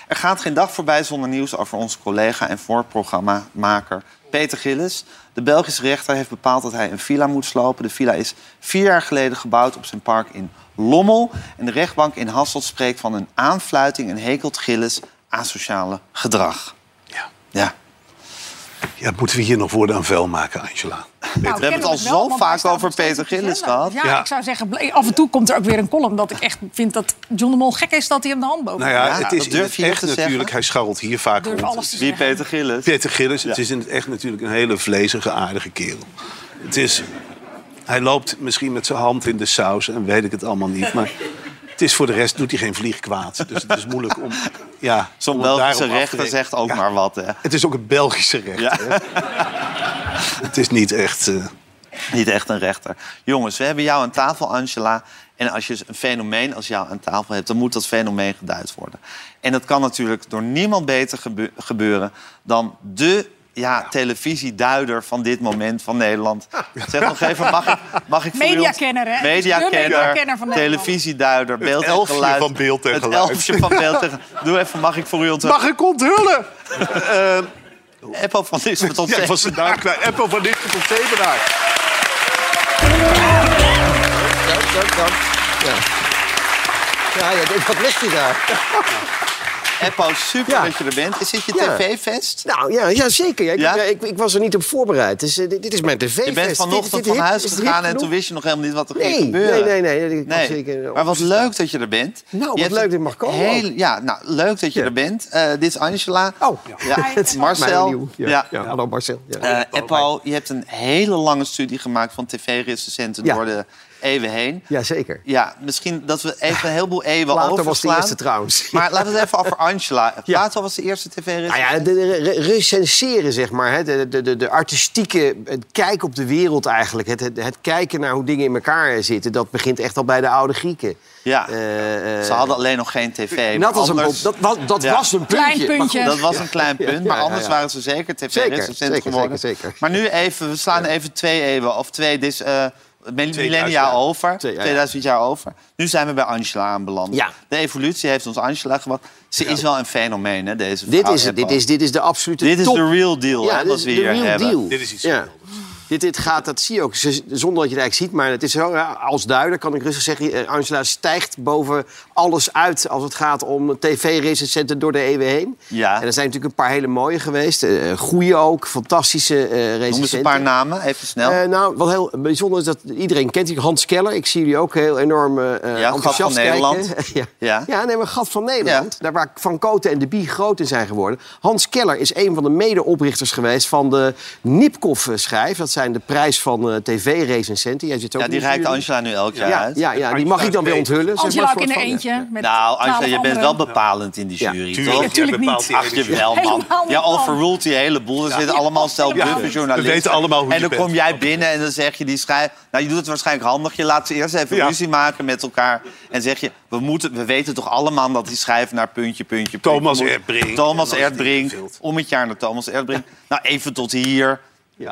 Er gaat geen dag voorbij zonder nieuws over onze collega en voorprogrammamaker Peter Gillis. De Belgische rechter heeft bepaald dat hij een villa moet slopen. De villa is vier jaar geleden gebouwd op zijn park in Lommel. En de rechtbank in Hasselt spreekt van een aanfluiting en hekelt Gillis asociale gedrag. Ja. Ja. ja, moeten we hier nog woorden aan vuil maken, Angela? Nou, We hebben het al kennelijk wel, zo want hij vaak staat over nog steeds Peter op de Gillis agenda. gehad. Ja, Ja. ik zou zeggen, ble- af en toe komt er ook weer een column... dat ik echt vind dat John de Mol gek is dat hij hem de hand boven Nou ja, Ja, het is dat in durf het je niet echt te natuurlijk, zeggen. hij scharrelt hier vaak Durf rond. alles te Wie zeggen. Peter Gillis? Peter Gillis, het is in het echt natuurlijk een hele vlezige, aardige kerel. Het is, hij loopt misschien met zijn hand in de saus en weet ik het allemaal niet. Maar het is voor de rest, doet hij geen vlieg kwaad. Dus het is moeilijk om... Ja, Zo'n om het Belgische daarop af te rechter rekenen. zegt ook Ja, maar wat. Hè. Het is ook een Belgische rechter. Ja. hè. Het is niet echt... eh, Niet echt een rechter. Jongens, we hebben jou aan tafel, Angela. En als je een fenomeen als jou aan tafel hebt, dan moet dat fenomeen geduid worden. En dat kan natuurlijk door niemand beter gebe- gebeuren dan de ja, televisieduider van dit moment van Nederland. Zeg nog even, mag ik, mag ik voor jullie- Mediakenner, hè? Het is de mediakenner Mediakenner, van Nederland. televisieduider, beeld en elfje geluid. van beeld en het geluid. elfje van beeld en geluid. Doe even, mag ik voor u ontzettend... ik onthullen? Eh, Apple van dit tot Ja, ik was de naam kwijt. Apple van Nistel tot Zevenaar. Dank, dank, dank. Ja. Ja, ja, dit- wat ligt hij daar? Apple, super Ja. dat je er bent. Is dit je Ja. tv-fest? Nou, ja, ja zeker. Ja, ik, Ja? ja, ik, ik was er niet op voorbereid. Dus, eh, dit, dit is mijn tv Je bent vanochtend van huis gegaan en toen wist je nog helemaal niet wat er ging Nee, gebeuren. nee, nee, nee, ik was zeker- Maar wat leuk dat je er bent. Nou, Je wat hebt leuk een dat ik mag komen heel- ja, nou, leuk dat je Ja. er bent. Eh, dit is Angela. Oh, Ja, Marcel. Ja. Ja. ja, hallo Marcel. Ja. Eh, Eppo, je hebt een hele lange studie gemaakt van tv-recensenten Ja. door de eeuwen heen. ja, zeker. Ja, misschien dat we even een heleboel eeuwen Plato was de overslaan. eerste trouwens. Maar laten we het even over Angela. Ja. Plato was de eerste tv-recensent. Nou ja, de, de- re- recenseren, zeg maar. Hè, de, de, de, de artistieke het kijk op de wereld eigenlijk. Het, het, het kijken naar hoe dingen in elkaar zitten. Dat begint echt al bij de oude Grieken. Ja. Eh, eh, Ze hadden alleen nog geen tv. maar dat, was een, anders- pro- dat, was, dat Ja. was een puntje. Klein maar puntje. goed, Dat was een klein punt, maar ja, ja, anders ja. waren ze zeker tv-recensent zeker, geworden. zeker, zeker. Maar nu even, we slaan even twee eeuwen of twee dis, eh, millennia jaar. over. Twee, ja, ja. 2000 jaar over. Nu zijn we bij Angela aanbeland. Ja. De evolutie heeft ons Angela gebracht. Ze is wel een fenomeen, hè, deze dit vrouw is het. Eppo. Dit is, dit is de absolute Oh, Dit is top. de real deal, Ja, hè, dit wat is we de hier real hebben. deal. Dit is iets Ja. heel anders. Dit, dit gaat, dat zie je ook, ze- zonder dat je het eigenlijk ziet. Maar het is zo, ja, als duider kan ik rustig zeggen... eh, Angela stijgt boven alles uit als het gaat om tv-recensenten door de eeuwen heen. Ja. En er zijn natuurlijk een paar hele mooie geweest. eh goeie ook, fantastische eh recensenten. Noem eens een paar namen, even snel. Eh, nou, wat heel bijzonder is dat iedereen kent die Hans Keller. Ik zie jullie ook heel enorm eh Gat enthousiast van kijken. Nederland. ja. Ja. Ja. nee, maar Gat van Nederland. Daar waar Van Koten en de Bie groot in zijn geworden. Hans Keller is een van de medeoprichters geweest van de Nipkoff-schijf. Dat zijn de prijs van eh, tv-recensenten. Jij zit ook ja, die in de reikt jury. Angela nu elk jaar Ja, uit. ja, ja, die mag ik dan weer onthullen. zeg Angela maar, ook in soort er van, eentje. Met Nou, Angela, 12 je bent anderen. wel bepalend in die Ja. jury, Tuurlijk, toch? jij natuurlijk bepaalt niet. die Ach, energie. jawel, man. Helemaal niet, Jij man. overrult die hele boel. Er zitten allemaal stel helemaal bluffe niet. journalisten. We weten allemaal hoe En je dan bent. kom jij binnen en dan zeg je die schrijf... Nou, je doet het waarschijnlijk handig. Je laat ze eerst even Ja. ruzie maken met elkaar. En zeg je, we, moeten, we weten toch allemaal dat die schrijf naar puntje, puntje, puntje Thomas moet. Erdbrink. Thomas En dan is die Erdbrink. gevuld. Om het jaar naar Thomas Erdbrink. Nou, even tot hier.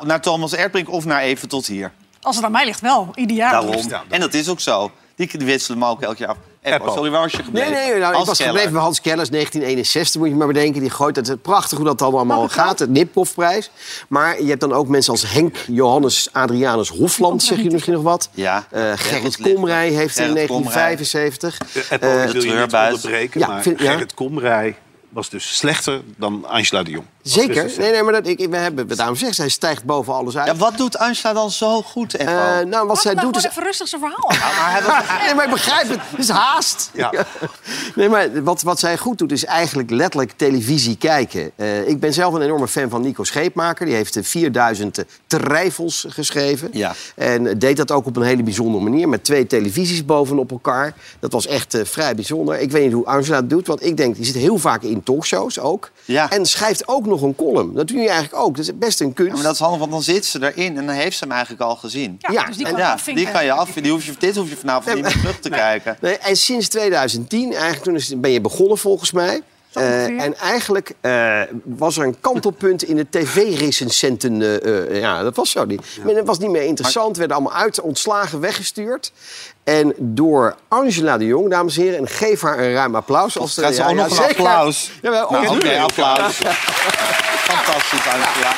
Naar Thomas Erdbrink of naar even tot hier. Als het aan mij ligt, wel. Ideaal. Daarom. ja, daarom. En dat is ook zo. Die wisselen me ook elk jaar af. Eppo, Eppo. sorry, waar was je Nee, gebleven? nee, nou, ik eh, Hans was Keller. gebleven bij Hans Kellers, 1961, moet je maar bedenken. Die gooit het, het prachtig hoe dat allemaal gaat, het Nipkoffprijs. Maar je hebt dan ook mensen als Henk Johannes Adrianus Hofland, zeg je misschien nog wat. Ja. Eh, Gerrit Gerrit Komrij heeft in Gerrit Komrij. 1975. Apple eh, wil je niet treurbuis. onderbreken, Ja, maar vind- ja. Gerrit Komrij was dus slechter dan Angela de Jong. dus Als zeker. recensent. Nee, nee, maar dat, ik, ik- we hebben het daarom gezegd, hij stijgt boven alles uit. Ja, wat doet Angela dan zo goed, Eppo? Eh, nou, wat zij Laat doet nou gewoon is even rustig zijn verhaal. maar hij was- Nee, maar ik begrijp het. Het is haast. Ja. Nee, maar wat, wat zij goed doet is eigenlijk letterlijk televisie kijken. Eh, ik ben zelf een enorme fan van Nico Scheepmaker. Die heeft eh, 4000 trijfels geschreven. Ja. En eh, deed dat ook op een hele bijzondere manier. Met twee televisies bovenop elkaar. Dat was echt eh, vrij bijzonder. Ik weet niet hoe Angela het doet. Want ik denk, die zit heel vaak in talkshows ook. Ja. En schrijft ook nog een column. Dat doe je eigenlijk ook. Dat is best een kunst. Ja, maar dat is handig, want dan zit ze erin en dan heeft ze hem eigenlijk al gezien. Ja, Ja, dus die en kan Ja, je die kan je af. Die hoef je, dit hoef je vanavond niet meer terug te kijken. Nee, en sinds 2010, eigenlijk toen is, ben je begonnen volgens mij. Zo ongeveer. Eh, en eigenlijk eh, was er een kantelpunt in de tv-recensenten. eh, eh, ja, dat was zo niet. Men, het was niet meer interessant. werden allemaal uit, ontslagen, weggestuurd. En door Angela de Jong, dames en heren. En geef haar een ruim applaus. Als Krijgt ze ook nog een zeker. applaus? Jawel, oh. Nou, Oké, ongeveer. applaus. Fantastisch, Angela.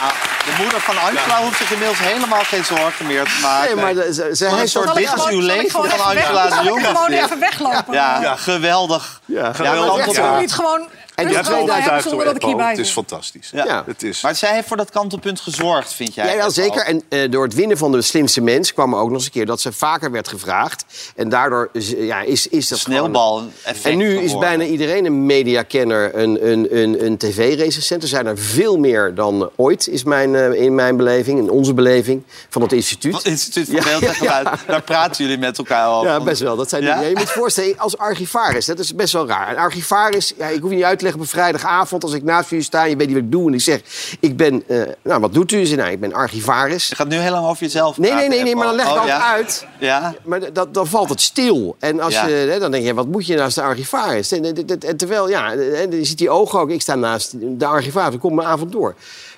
Nou, de moeder van Angela hoeft zich inmiddels helemaal geen zorgen meer te maken. Nee, maar de- ze, ze een heeft soort dat- dit is uw leven van Angela de Jong. gewoon is dit. even weglopen. Ja, Ja. geweldig. Ja, Ja, geweldig. maar- Ik echt wil Ja. niet gewoon En die Je rustig hebt hebben me wel over hebben overtuigd zonder hoor, dat ik Eppo. hierbij Het ben. is fantastisch. Ja. Het is... Maar zij heeft voor dat kantelpunt gezorgd, vind jij? Ja, dat wel al? zeker. En eh, door het winnen van de slimste mens kwam er ook nog eens een keer dat ze vaker werd gevraagd. En daardoor is- eh, ja, is, is dat gewoon- Sneeuwbal-effect En nu is geworden. bijna iedereen een mediakenner, een, een, een, een tv-recensent. Er zijn er veel meer dan eh, ooit, is mijn, eh, in mijn beleving, in onze beleving, van het Van instituut. het Instituut voor Ja, Beeld en ja, Geluid. Daar praten jullie met elkaar over. Ja, best wel. Dat zijn Ja? die- ja, je moet je voorstellen, als archivaris, dat is best wel raar. Een archivaris, ja, ik hoef je niet uit te leggen op een vrijdagavond... als ik naast jullie sta en je weet niet wat ik doe en ik zeg... ik ben, eh, nou, wat doet u? Ze, Nou, ik ben archivaris. Je gaat nu helemaal over jezelf Nee, praten, nee, nee, nee, maar dan leg ik Apple. altijd ja? uit. Ja? Maar d- dat, dan valt het stil. En als Ja. je, hè, dan denk je, wat moet je naast de archivaris? En, en- en- en terwijl, ja, en je ziet die ogen ook. Ik sta naast de archivaris, ik kom mijn avond door.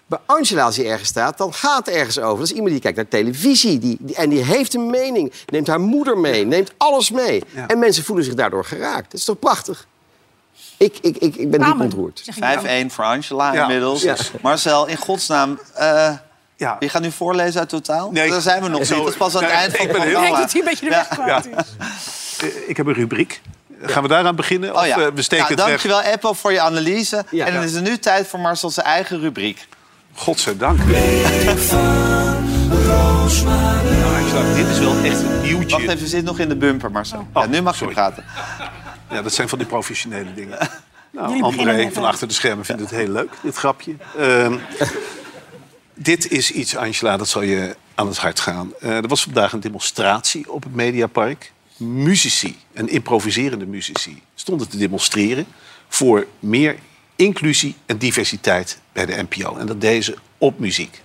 Bij Angela, als hij ergens staat, dan gaat het ergens over. Dat is iemand die kijkt naar televisie. Die, die- en die heeft een mening. Neemt haar moeder mee. Neemt alles mee. Ja. En mensen voelen zich daardoor geraakt. Dat is toch prachtig? Ik, ik, ik, ik ben diep Amen. ontroerd. Zeg nou. ik dan. 5-1 voor Angela Ja. inmiddels. Ja. Marcel, in godsnaam. eh Ja. je gaat nu voorlezen uit totaal? Nee, Daar zijn we nog niet. zo- Dat is pas aan het Nee, eind ik van ben het heel- Ik denk programma. dat hij een beetje de weg kwijt is. Eh, Ik heb een rubriek. Gaan we daaraan beginnen? Oh ja. Of eh, we steken Nou, het weg? dankjewel, Eppo, voor je analyse. Ja. en dan Ja. is het nu tijd voor Marcel zijn eigen rubriek. Godzijdank. Roosmalen. Nou, Angela, dit is wel echt een nieuwtje. Wacht even, je zit nog in de bumper, Marcel. Ja, nu mag Oh, sorry. je praten. Ja, dat zijn van die professionele dingen. Nou, Jullie beginnen André net van al. achter de schermen vindt het heel leuk, dit grapje. Ehm, dit is iets, Angela, dat zal je aan het hart gaan. Eh, er was vandaag een demonstratie op het Mediapark. Muzici en improviserende muzici stonden te demonstreren... voor meer inclusie en diversiteit bij de NPO. En dat deden ze op muziek.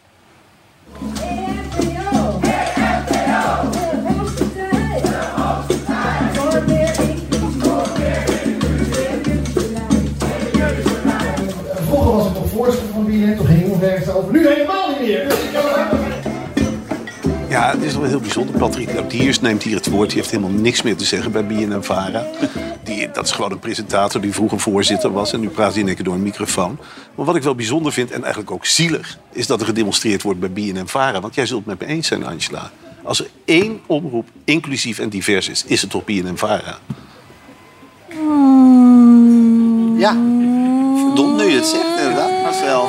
Vroeger was het op voorstel van binnen, toen ging het ergens over. Nu helemaal niet meer. Dus ik heb Ja, het is wel heel bijzonder. Patrick Lodiers neemt hier het woord. Die heeft helemaal niks meer te zeggen bij BNM Vara. Die, dat is gewoon een presentator die vroeger voorzitter was. En nu praat hij in één keer door een microfoon. Maar wat ik wel bijzonder vind, en eigenlijk ook zielig... is dat er gedemonstreerd wordt bij BNM Vara. Want jij zult het met me eens zijn, Angela. Als er één omroep inclusief en divers is, is het toch BNM Vara? Ja. Verdomd nu je het zegt, inderdaad, Marcel.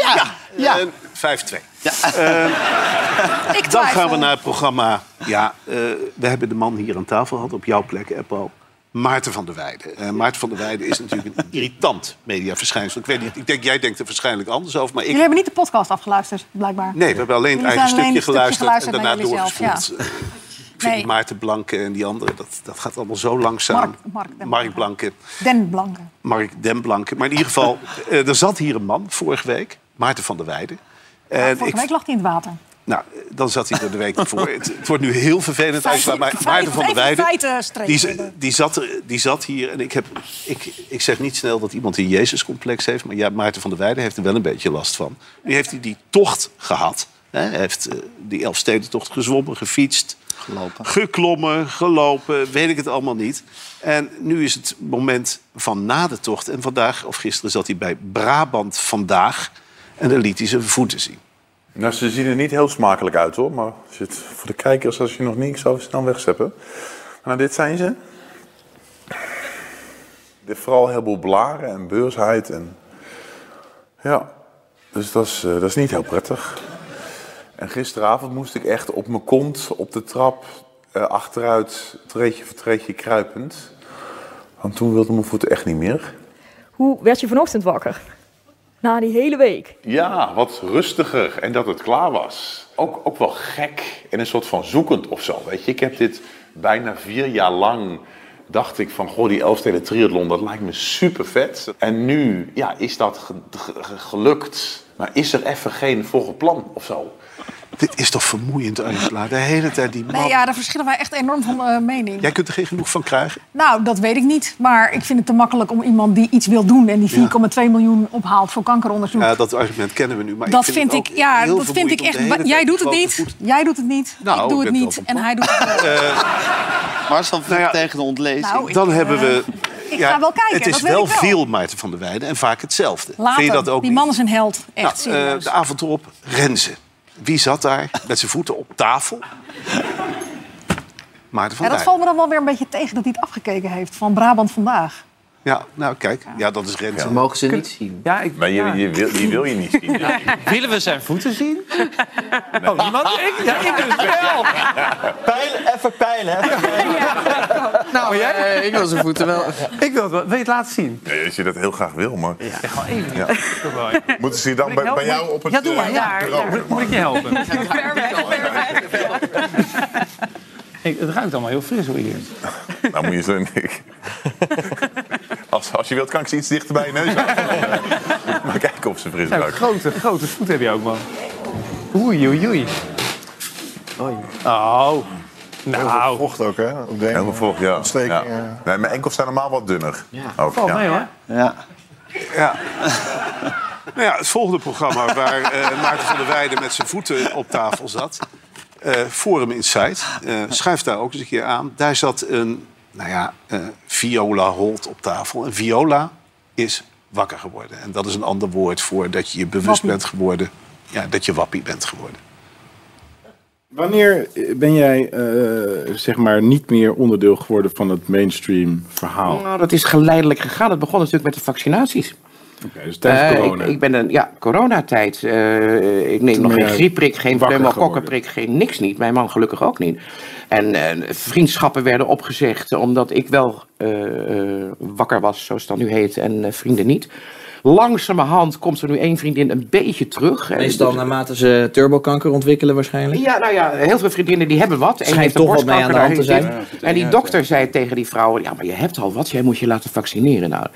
Ja. Ja. Eh, 5-2. Ik Dan twijfel. gaan we naar het programma. Ja, eh, we hebben de man hier aan tafel gehad op jouw plek, Eppo. Maarten van der Weijden. Eh, Maarten van der Weijden is natuurlijk een irritant mediaverschijnsel. Ik weet niet, ik denk, jij denkt er waarschijnlijk anders over, maar ik... Jullie hebben niet de podcast afgeluisterd, blijkbaar. Nee, we hebben alleen het Jullie eigen zijn alleen stukje een stukje geluisterd, en daarna geluisterd naar doorgespoeld. Ik vind Nee. Maarten Blanke en die anderen, dat, dat gaat allemaal zo langzaam. Mark- Mark Den Blanke. Blanke. Den Blanke. Mark Den Blanke. Maar in ieder geval, eh, er zat hier een man vorige week, Maarten van der Weijden. En Vorige ik week lag hij in het water. nou, dan zat hij er de week voor. het, het wordt nu heel vervelend. Feiten- Angela, maar feiten- Maarten van even der Weijden, feiten strepen. die, z- die, zat, er- die zat hier. En ik, heb, ik, ik zeg niet snel dat iemand een Jezus-complex heeft. Maar ja, Maarten van der Weijden heeft er wel een beetje last van. Nu heeft hij die tocht gehad. Hè? Hij heeft eh, die Elfstedentocht gezwommen, gefietst. Gelopen. Geklommen, gelopen, weet ik het allemaal niet. En nu is het moment van na de tocht. En vandaag, of gisteren, zat hij bij Brabant Vandaag. En daar liet hij zijn voeten zien. Nou, ze zien er niet heel smakelijk uit hoor. Maar als je het voor de kijkers, als je nog niks over snel wegzeppen. Nou, dit zijn ze. Dit vooral een heleboel blaren en beursheid. En... Ja, dus dat is, eh, dat is niet heel prettig. En gisteravond moest ik echt op mijn kont, op de trap, eh, achteruit, treetje voor treetje kruipend. Want toen wilde mijn voeten echt niet meer. Hoe werd je vanochtend wakker? Na die hele week. Ja, wat rustiger en dat het klaar was. Ook, ook wel gek en een soort van zoekend of zo. Weet je, ik heb dit bijna vier jaar lang. Dacht ik van, goh, die Elfsteden triathlon, dat lijkt me super vet. En nu, ja, is dat ge- ge- ge- gelukt. Maar is er even geen volgend plan of zo? Dit is toch vermoeiend, Angela? De hele tijd die man. Nee, ja, daar verschillen wij echt enorm van eh, mening. Jij kunt er geen genoeg van krijgen. Nou, dat weet ik niet. Maar ik vind het te makkelijk om iemand die iets wil doen... en die 4,2 miljoen ophaalt voor kankeronderzoek... Ja, dat argument kennen we nu. Maar dat ik vind, vind, ik, het ook ja, heel dat vind ik vermoeiend om de hele echt... tijd Jij doet het grote niet, voeten- jij doet het niet, Nou, ik doe ik het ben niet wel van en hij doet het wel. Marcel vliegt Nou ja. tegen de ontlezing. Nou, ik, Dan eh, hebben we. ik ga wel kijken, Het is dat weet wel, ik wel. veel Maarten van der Weijden en vaak hetzelfde. Later, Vind je dat ook die niet? man is een held, echt Nou, eh, serieus. de avond erop, Renze. Wie zat daar met zijn voeten op tafel? Maarten van ja, dat der Weijden. valt me dan wel weer een beetje tegen dat hij het afgekeken heeft van Brabant Vandaag. Ja, nou kijk, ja, dat is Renze. mogen ze niet zien. Ja, ik... Maar je, je wil, die wil je niet zien. willen we zijn voeten zien? Oh, niemand? Ik, ja, ik dus wel. Pijlen, even pijlen. Nou, jij? ik wil zijn voeten wel. Ik wil het wel. Wil je het laten zien? Nee, als je dat heel graag wil, maar... Gewoon even. Ja. Moeten ze je dan ik bij, helpen? bij jou op het... Ja, doe maar. eh, Ja, ja. bureau zetten? Moet, moet ik je helpen? Hey, het ruikt allemaal heel fris hoor hier. Nou, moet je zo... Ik... Als, als je wilt, kan ik ze iets dichter bij je neus houden. maar kijken of ze fris Nou, ruiken. grote, grote voet heb je ook, man. Oei, oei, oei. Oh. Nou. Vocht ook, hè? Op de Heel veel vocht, ja. Ontsteking, Ja. eh. Nee, mijn enkels zijn normaal wat dunner. Ja. Ook, Valt ja. mee hoor. Ja. Nou ja, het volgende programma waar eh, Maarten van der Weijden met zijn voeten op tafel zat. eh, Forum Insight. Eh schuif daar ook eens een keer aan. Daar zat een nou ja, eh, Viola Holt op tafel. En Viola is wakker geworden. En dat is een ander woord voor dat je je bewust Wappie. bent geworden. Ja, dat je wappie bent geworden. Wanneer ben jij eh, zeg maar niet meer onderdeel geworden van het mainstream verhaal? Nou, dat is geleidelijk gegaan. Het begon natuurlijk met de vaccinaties. Oké, dus tijdens Eh, corona. Ik, ik ben een, ja, coronatijd. Eh, ik neem Toen nog ben geen jij griepprik, geen wakker pneumokokkenprik, geen niks niet. Mijn man gelukkig ook niet. En eh, vriendschappen werden opgezegd omdat ik wel eh, eh, wakker was, zoals het dan nu heet, en eh, vrienden niet. Langzamerhand komt er nu één vriendin een beetje terug. En Meestal naarmate ze turbokanker ontwikkelen waarschijnlijk. ja, nou ja, heel veel vriendinnen die hebben wat. Eén Schijnt heeft een toch wat mee aan borstkanker, de hand te daar heeft zijn. dit. En die dokter zei tegen die vrouw... ja, maar je hebt al wat, jij moet je laten vaccineren. Nou,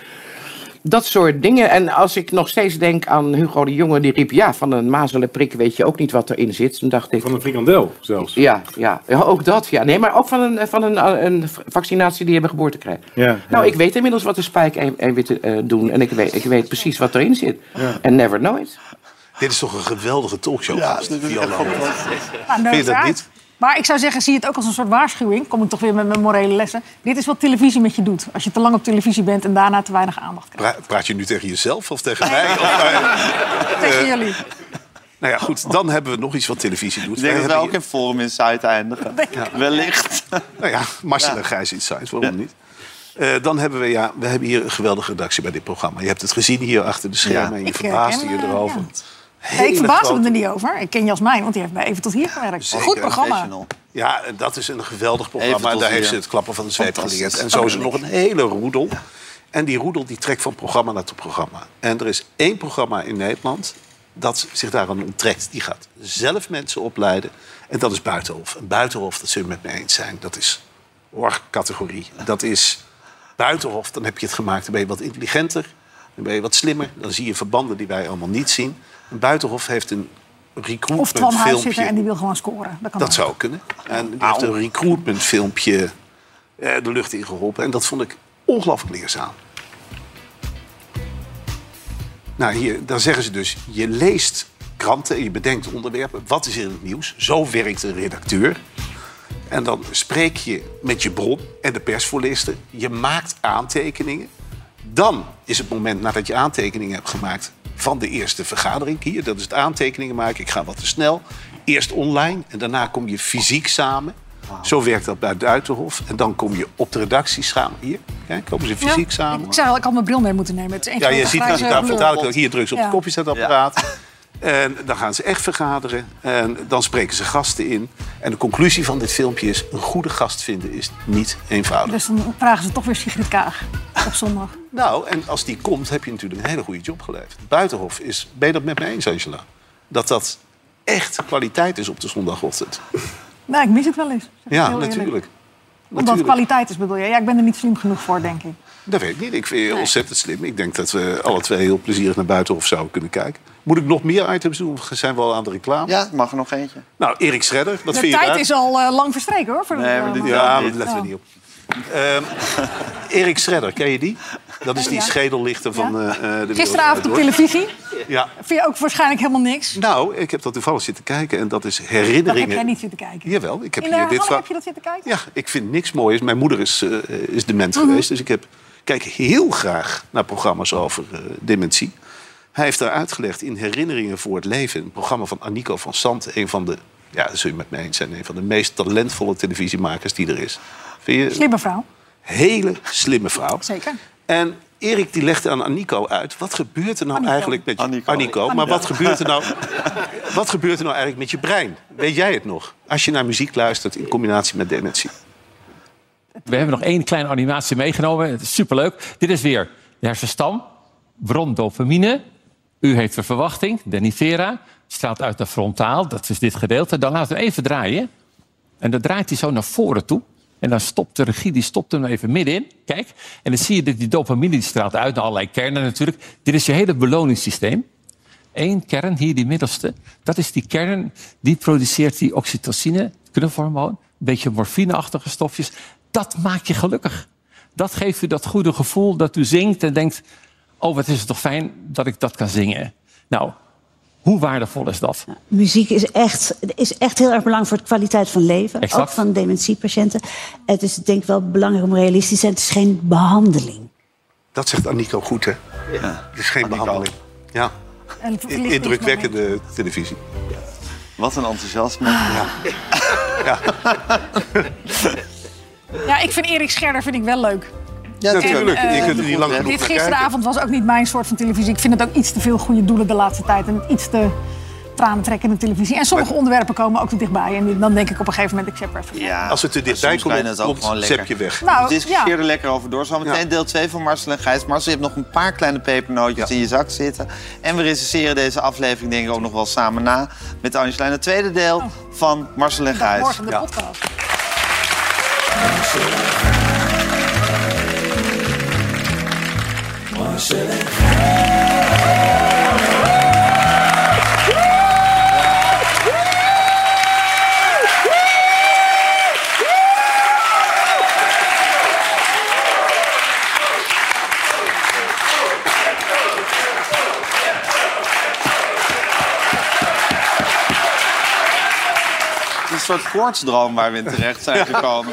dat soort dingen. En als ik nog steeds denk aan Hugo de Jonge... die riep, ja, van een mazelenprik weet je ook niet wat erin zit. Dan dacht ik... Van een frikandel zelfs. Ja, ja, ja, ook dat, ja. Nee, maar ook van een, van een, een vaccinatie die je bij geboorte krijgt. Ja, Nou, ik weet inmiddels wat de spike en witte eh, doen... en ik weet, ik weet precies wat erin zit. Ja. En never know it. Dit is toch een geweldige talkshow? Ja, Dus gast, dit is Viola echt Holt. Nou, Vind je dat uiteraard. niet? Maar ik zou zeggen, zie het ook als een soort waarschuwing. Kom ik toch weer met mijn morele lessen. Dit is wat televisie met je doet. Als je te lang op televisie bent en daarna te weinig aandacht Pra- praat je nu tegen jezelf of tegen mij? Of, eh, krijgt. Tegen eh, jullie. nou ja, goed, dan hebben we nog iets wat televisie doet. Ik denk dat we hebben ook in Forum Insight eindigen. Wellicht. Nou ja, Marcel en Gijs Insights, waarom niet? Eh, dan hebben we, ja, we hebben hier een geweldige redactie bij dit programma. Je hebt het gezien hier achter de schermen en je Ik verbaasde herken, je eh, erover. Nee, ik Hele verbaasde me grote- er niet over. Ik ken Jasmijn, want die heeft bij Even tot hier gewerkt. zeker. Goed programma. Ja, en dat is een geweldig Even programma. En tot daar hier. heeft ze het klappen van de zweep Fantastisch. geleerd. En zo is er Oh, nog een hele roedel. En die roedel die trekt van programma naar tot programma. En er is één programma in Nederland dat zich daaraan onttrekt. Die gaat zelf mensen opleiden. En dat is Buitenhof. En Buitenhof, dat zullen we met me eens zijn, dat is org-categorie. Dat is Buitenhof, dan heb je het gemaakt. Dan ben je wat intelligenter, dan ben je wat slimmer. Dan zie je verbanden die wij allemaal niet zien. En Buitenhof heeft een recruitment Of Twan Huizitter filmpje. en die wil gewoon scoren. Dat kan Dat ook. zou kunnen. En die heeft een recruitment filmpje de lucht in geholpen. En dat vond ik ongelooflijk leerzaam. Nou, hier, dan zeggen ze dus, je leest kranten en je bedenkt onderwerpen. Wat is er in het nieuws? Zo werkt een redacteur. En dan spreek je met je bron en de persvoorlichter. Je maakt aantekeningen. Dan is het moment nadat je aantekeningen hebt gemaakt van de eerste vergadering. Hier, dat is het aantekeningen maken. Ik ga wat te snel. Eerst online en daarna kom je fysiek samen. Zo werkt dat bij Duitenhof. En dan kom je op de redactie samen. Hier, kijk, komen ze fysiek Ja, samen. Ik zou wel, ik had mijn bril mee moeten nemen. Het is één Ja, je grote ziet dat grijze je daar blur. vertaald ook hier drugs op Ja. het koffiezetapparaat. En dan gaan ze echt vergaderen. En dan spreken ze gasten in. En de conclusie van dit filmpje is... een goede gast vinden is niet eenvoudig. Dus dan vragen ze toch weer Sigrid Kaag op zondag. Nou, en als die komt, heb je natuurlijk een hele goede job geleverd. Buitenhof is... Ben je dat met me eens, Angela? Dat dat echt kwaliteit is op de zondagochtend. Nou, ik mis het wel eens. zeg ik Ja, heel eerlijk. natuurlijk. Omdat het Natuurlijk. kwaliteit is, bedoel je? Ja, ik ben er niet slim genoeg voor, denk ik. Dat weet ik niet. Ik vind je ontzettend slim. Ik denk dat we alle twee heel plezierig naar Buitenhof zouden kunnen kijken. Moet ik nog meer items doen? Of zijn we al aan de reclame? Ja, ik mag er nog eentje. Nou, Erik Schredder, wat de vind je tijd daar? is al eh, lang verstreken, hoor. Voor eh, Nee, maar dit, ja, maar dat letten we niet op. Oh. Ehm, Erik Schredder, ken je die? Dat is die Ja. schedellichter van eh, eh, de wereld. Gisteravond op Door. televisie. Ja. Vind je ook waarschijnlijk helemaal niks. Nou, ik heb dat toevallig zitten kijken en dat is Dat heb jij herinneringen. niet zitten kijken. Jawel, ik heb In de hier dit herhaling verhaal- heb je dat zitten kijken? Mhm. Ja, ik vind niks moois. Mijn moeder is, eh, is dement geweest, dus ik heb, kijk heel graag naar programma's over eh, dementie. Hij heeft daar uitgelegd in Herinneringen voor het Leven, een programma van Anico van Sant, een van de, ja, dat zul je met mij eens zijn, een van de meest talentvolle televisiemakers die er is. Vind je? Slimme vrouw. Hele slimme vrouw. Zeker. En Erik die legde aan Anico uit, wat gebeurt er nou eigenlijk met je... Anico. maar Anico. wat gebeurt, er nou, wat gebeurt er nou eigenlijk met je brein? Weet jij het nog? Als je naar muziek luistert in combinatie met dementie. We hebben nog één kleine animatie meegenomen. Het is superleuk. Dit is weer de hersenstam. Bron dopamine. U heeft een verwachting. Denivera. Straalt uit naar frontaal. Dat is dit gedeelte. Dan laten we even draaien. En dan draait hij zo naar voren toe. En dan stopt de regie, die stopt hem even middenin. Kijk. En dan zie je dat die dopamine die straalt uit naar allerlei kernen natuurlijk. Dit is je hele beloningssysteem. Eén kern, hier die middelste. Dat is die kern, die produceert die oxytocine, knuffelhormoon. Een beetje morfineachtige stofjes. Dat maakt je gelukkig. Dat geeft u dat goede gevoel dat u zingt en denkt... oh, wat is het toch fijn dat ik dat kan zingen. Nou, Hoe waardevol is dat? Muziek is echt, is echt heel erg belangrijk voor de kwaliteit van leven. Exact. Ook van dementiepatiënten. Het is denk ik wel belangrijk om realistisch te zijn. Het is geen behandeling. Dat zegt Annico goed, hè? Ja. Het is geen behandeling. Ja. En verlichting is Indrukwekkende televisie. Wat een enthousiasme. Ja. Ja, ik vind Erik Scherder vind ik wel leuk. Ja, natuurlijk. En, eh, Je kunt er niet lang genoeg Dit naar kijken. gisteravond was ook niet mijn soort van televisie. Ik vind het ook iets te veel goede doelen de laatste tijd. En iets te tranentrekkende televisie. En sommige onderwerpen komen ook te dichtbij. En dan denk ik op een gegeven moment, ik heb er even geen- Als het er dichtbij soms komt, kan je het ook komt gewoon het lekker. zepje weg. Nou, Discussieer er lekker over door. Zometeen deel 2 van Marcel en Gijs. Marcel, je hebt nog een paar kleine pepernootjes in je zak zitten. En we recenseren deze aflevering denk ik ook nog wel samen na... met Angelijn, het tweede deel van Marcel en Gijs. Oh. Morgen de Ja. podcast. Marcel en Het is een soort koortsdroom waar we in terecht zijn gekomen.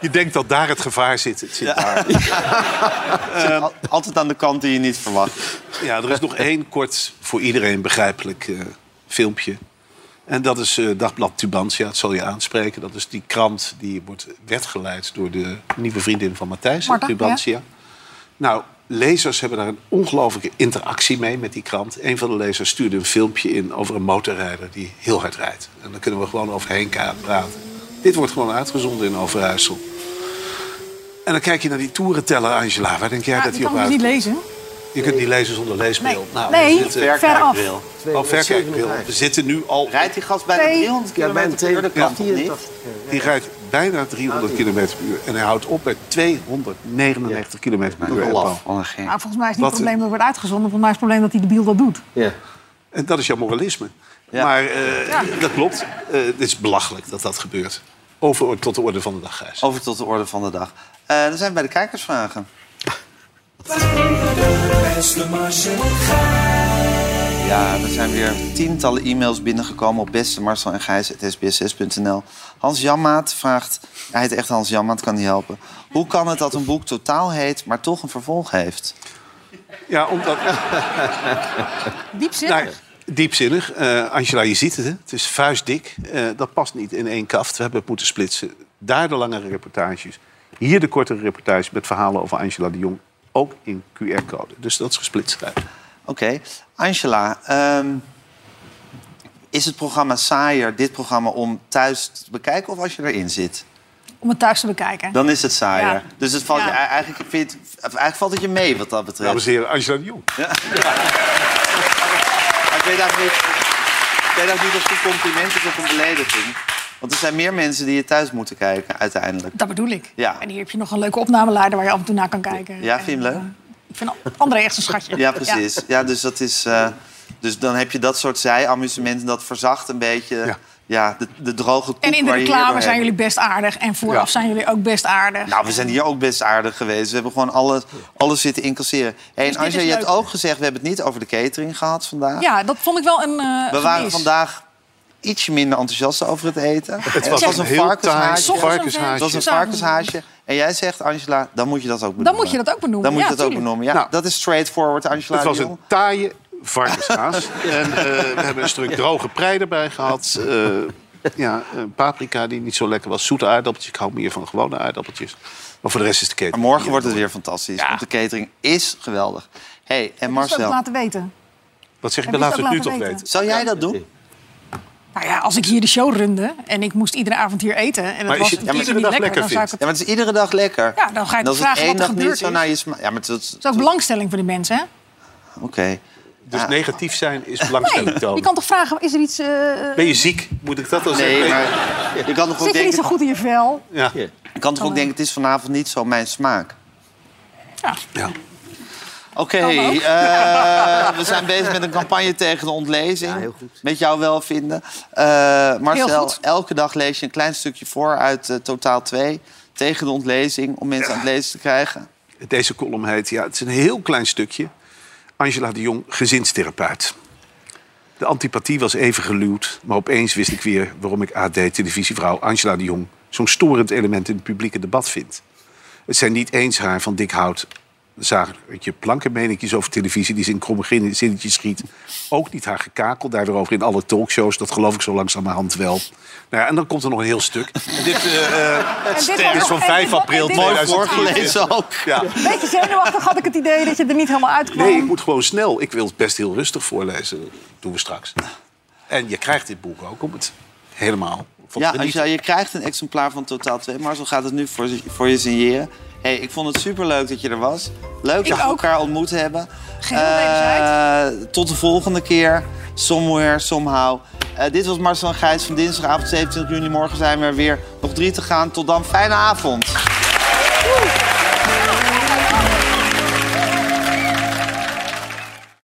Je denkt dat daar het gevaar zit. Het zit daar. Eh, al- altijd aan de kant die je niet verwacht. Ja, er is nog één kort, voor iedereen begrijpelijk eh, filmpje. En dat is eh, Dagblad Tubantia, dat zal je aanspreken. Dat is die krant die wordt, werd geleid door de nieuwe vriendin van Matthijs, Martha, Tubantia. Nou, lezers hebben daar een ongelooflijke interactie mee met die krant. Een van de lezers stuurde een filmpje in over een motorrijder die heel hard rijdt. En daar kunnen we gewoon overheen ka- praten. Dit wordt gewoon uitgezonden in Overijssel. En dan kijk je naar die toerenteller, Angela. Waar denk jij Ja, dat die die kan op ik dus uit? niet lezen. Je kunt niet lezen zonder leesbril. Nee. Nou, Nee, we zitten... ver Verkijkbril. Oh, verkijkbril. We zitten nu al... Rijdt die gast bijna Nee. 300 kilometer per uur de kant op niet? Die rijdt bijna 300 km per uur. En hij houdt op bij 299 km per uur. Nou, volgens mij is niet Wat- het probleem dat het wordt uitgezonden. Volgens mij is het probleem dat hij de biel dat doet. En dat is jouw moralisme. Maar eh, dat klopt. Eh, het is belachelijk dat dat gebeurt. Over tot de orde van de dag, Gijs. Over tot de orde van de dag. Eh, dan zijn we bij de kijkersvragen. Beste Marcel en Gijs. Ja, er zijn weer tientallen e-mails binnengekomen op beste Marcel en Gijs sbs6.nl. Hans Janmaat vraagt, hij heet echt Hans Janmaat, kan niet helpen. Hoe kan het dat een boek totaal heet, maar toch een vervolg heeft? Ja, omdat... Nou Diepzinnig. Nou, diepzinnig. Eh, Angela, je ziet het, hè? Het is vuistdik. Eh, dat past niet in één kaft. We hebben het moeten splitsen. Daar de langere reportages. Hier de kortere reportage met verhalen over Angela de Jong. Ook in QR-code. Dus dat is gesplitst. Oké, Angela, ehm, is het programma saaier, dit programma, om thuis te bekijken of als je erin zit? Om het thuis te bekijken. Dan is het saaier. Ja. Dus het valt je, Ja. eigenlijk, vind je het- eigenlijk valt het je mee wat dat betreft. Dames en heren, Angela de Jong. Ja. Maar ik weet eigenlijk niet, ik weet eigenlijk niet of het een compliment is of een belediging. Want er zijn meer mensen die je thuis moeten kijken, uiteindelijk. Dat bedoel ik. Ja. En hier heb je nog een leuke opnameleider waar je af en toe naar kan kijken. eh, Ja, vind je hem leuk? Ik vind André echt een schatje. Ja, precies. Ja, dus, dat is, eh, dus dan heb je dat soort zij-amusement... en dat verzacht een beetje ja. de, de droge koek En in de waar je hier reclame doorheen zijn jullie best aardig. En vooraf Ja. zijn jullie ook best aardig. Nou, we zijn hier ook best aardig geweest. We hebben gewoon alles, alles zitten incasseren. Hey, en Dus dit Anja, is je hebt leuk. ook gezegd... we hebben het niet over de catering gehad vandaag. Ja, dat vond ik wel een. eh, we waren gemis. vandaag ietsje minder enthousiast over het eten. Het was een heel varkenshaasje. taai Soms een varkenshaasje. Het was een varkenshaasje. En jij zegt, Angela, dan moet je dat ook benoemen. moet je dat ook benoemen, Dan moet ja, je dat ook tuurlijk. benoemen. Ja, Nou, dat is straightforward, Angela. Het was de een Jong. taaie varkenshaas. en eh, we hebben een stuk droge prei erbij gehad. Eh, ja, eh, paprika die niet zo lekker was. Zoete aardappeltjes. Ik hou meer van gewone aardappeltjes. Maar voor de rest is de keten. Maar morgen wordt het weer fantastisch. Want de catering is geweldig. hey, en Dat is ook Marcel. laten weten. Wat zeg je? Heb je Laten we het het ook nu laten toch weten? weten. Zou jij dat doen? Nou ja, als ik hier de show runde en ik moest iedere avond hier eten. En het was een keer niet lekker, dan zou ik Ja, het. maar het is iedere dag lekker. Ja, dan ga ik En als het vragen één wat er dag niet gebeurd zo is. naar je smaak... Ja, maar het is... Dat is ook belangstelling voor die mensen, hè? Oké. Dus negatief zijn is belangstelling Nee, tonen. je kan toch vragen, is er iets... eh, Ben je ziek? Moet ik dat dan Nee, zeggen? maar je kan toch ook zit je niet denken... zo goed in je vel? Ja. Je kan toch ook denken, het is vanavond niet zo mijn smaak. Ja. Oké, eh, we zijn bezig met een campagne tegen de ontlezing. Met jouw welvinden. Eh, Heel Marcel, goed. elke dag lees je een klein stukje voor uit eh, Totaal 2. Tegen de ontlezing, om mensen aan het lezen te krijgen. Deze column heet, ja, het is een heel klein stukje. Angela de Jong, gezinstherapeut. De antipathie was even geluwd. Maar opeens wist ik weer waarom ik AD-televisievrouw Angela de Jong... zo'n storend element in het publieke debat vind. Het zijn niet eens haar van dik hout... Zagertje plankenmenetjes over televisie die ze in kromme gin- zinnetjes schiet. Ook niet haar gekakel daarover in alle talkshows. Dat geloof ik zo langzamerhand wel. Nou ja, en dan komt er nog een heel stuk. En dit, eh, eh, En dit was dit is nog- van en 5 dit- april en dit was nog 2014. voorgelezen ook. Ja. Beetje zenuwachtig had ik het idee dat je er niet helemaal uitkwam. Nee, ik moet gewoon snel. Ik wil het best heel rustig voorlezen. Dat doen we straks. En je krijgt dit boek ook om het helemaal... van Ja, te genieten. Angela, je krijgt een exemplaar van Totaal 2. Marcel gaat het nu voor, voor je signeren. hey, ik vond het superleuk dat je er was. Leuk dat we elkaar ontmoet hebben. Eh, Tot de volgende keer. Somewhere, somehow. Eh, dit was Marcel en Gijs van dinsdagavond 27 juni. Morgen zijn we er weer. Nog drie te gaan. Tot dan. Fijne avond.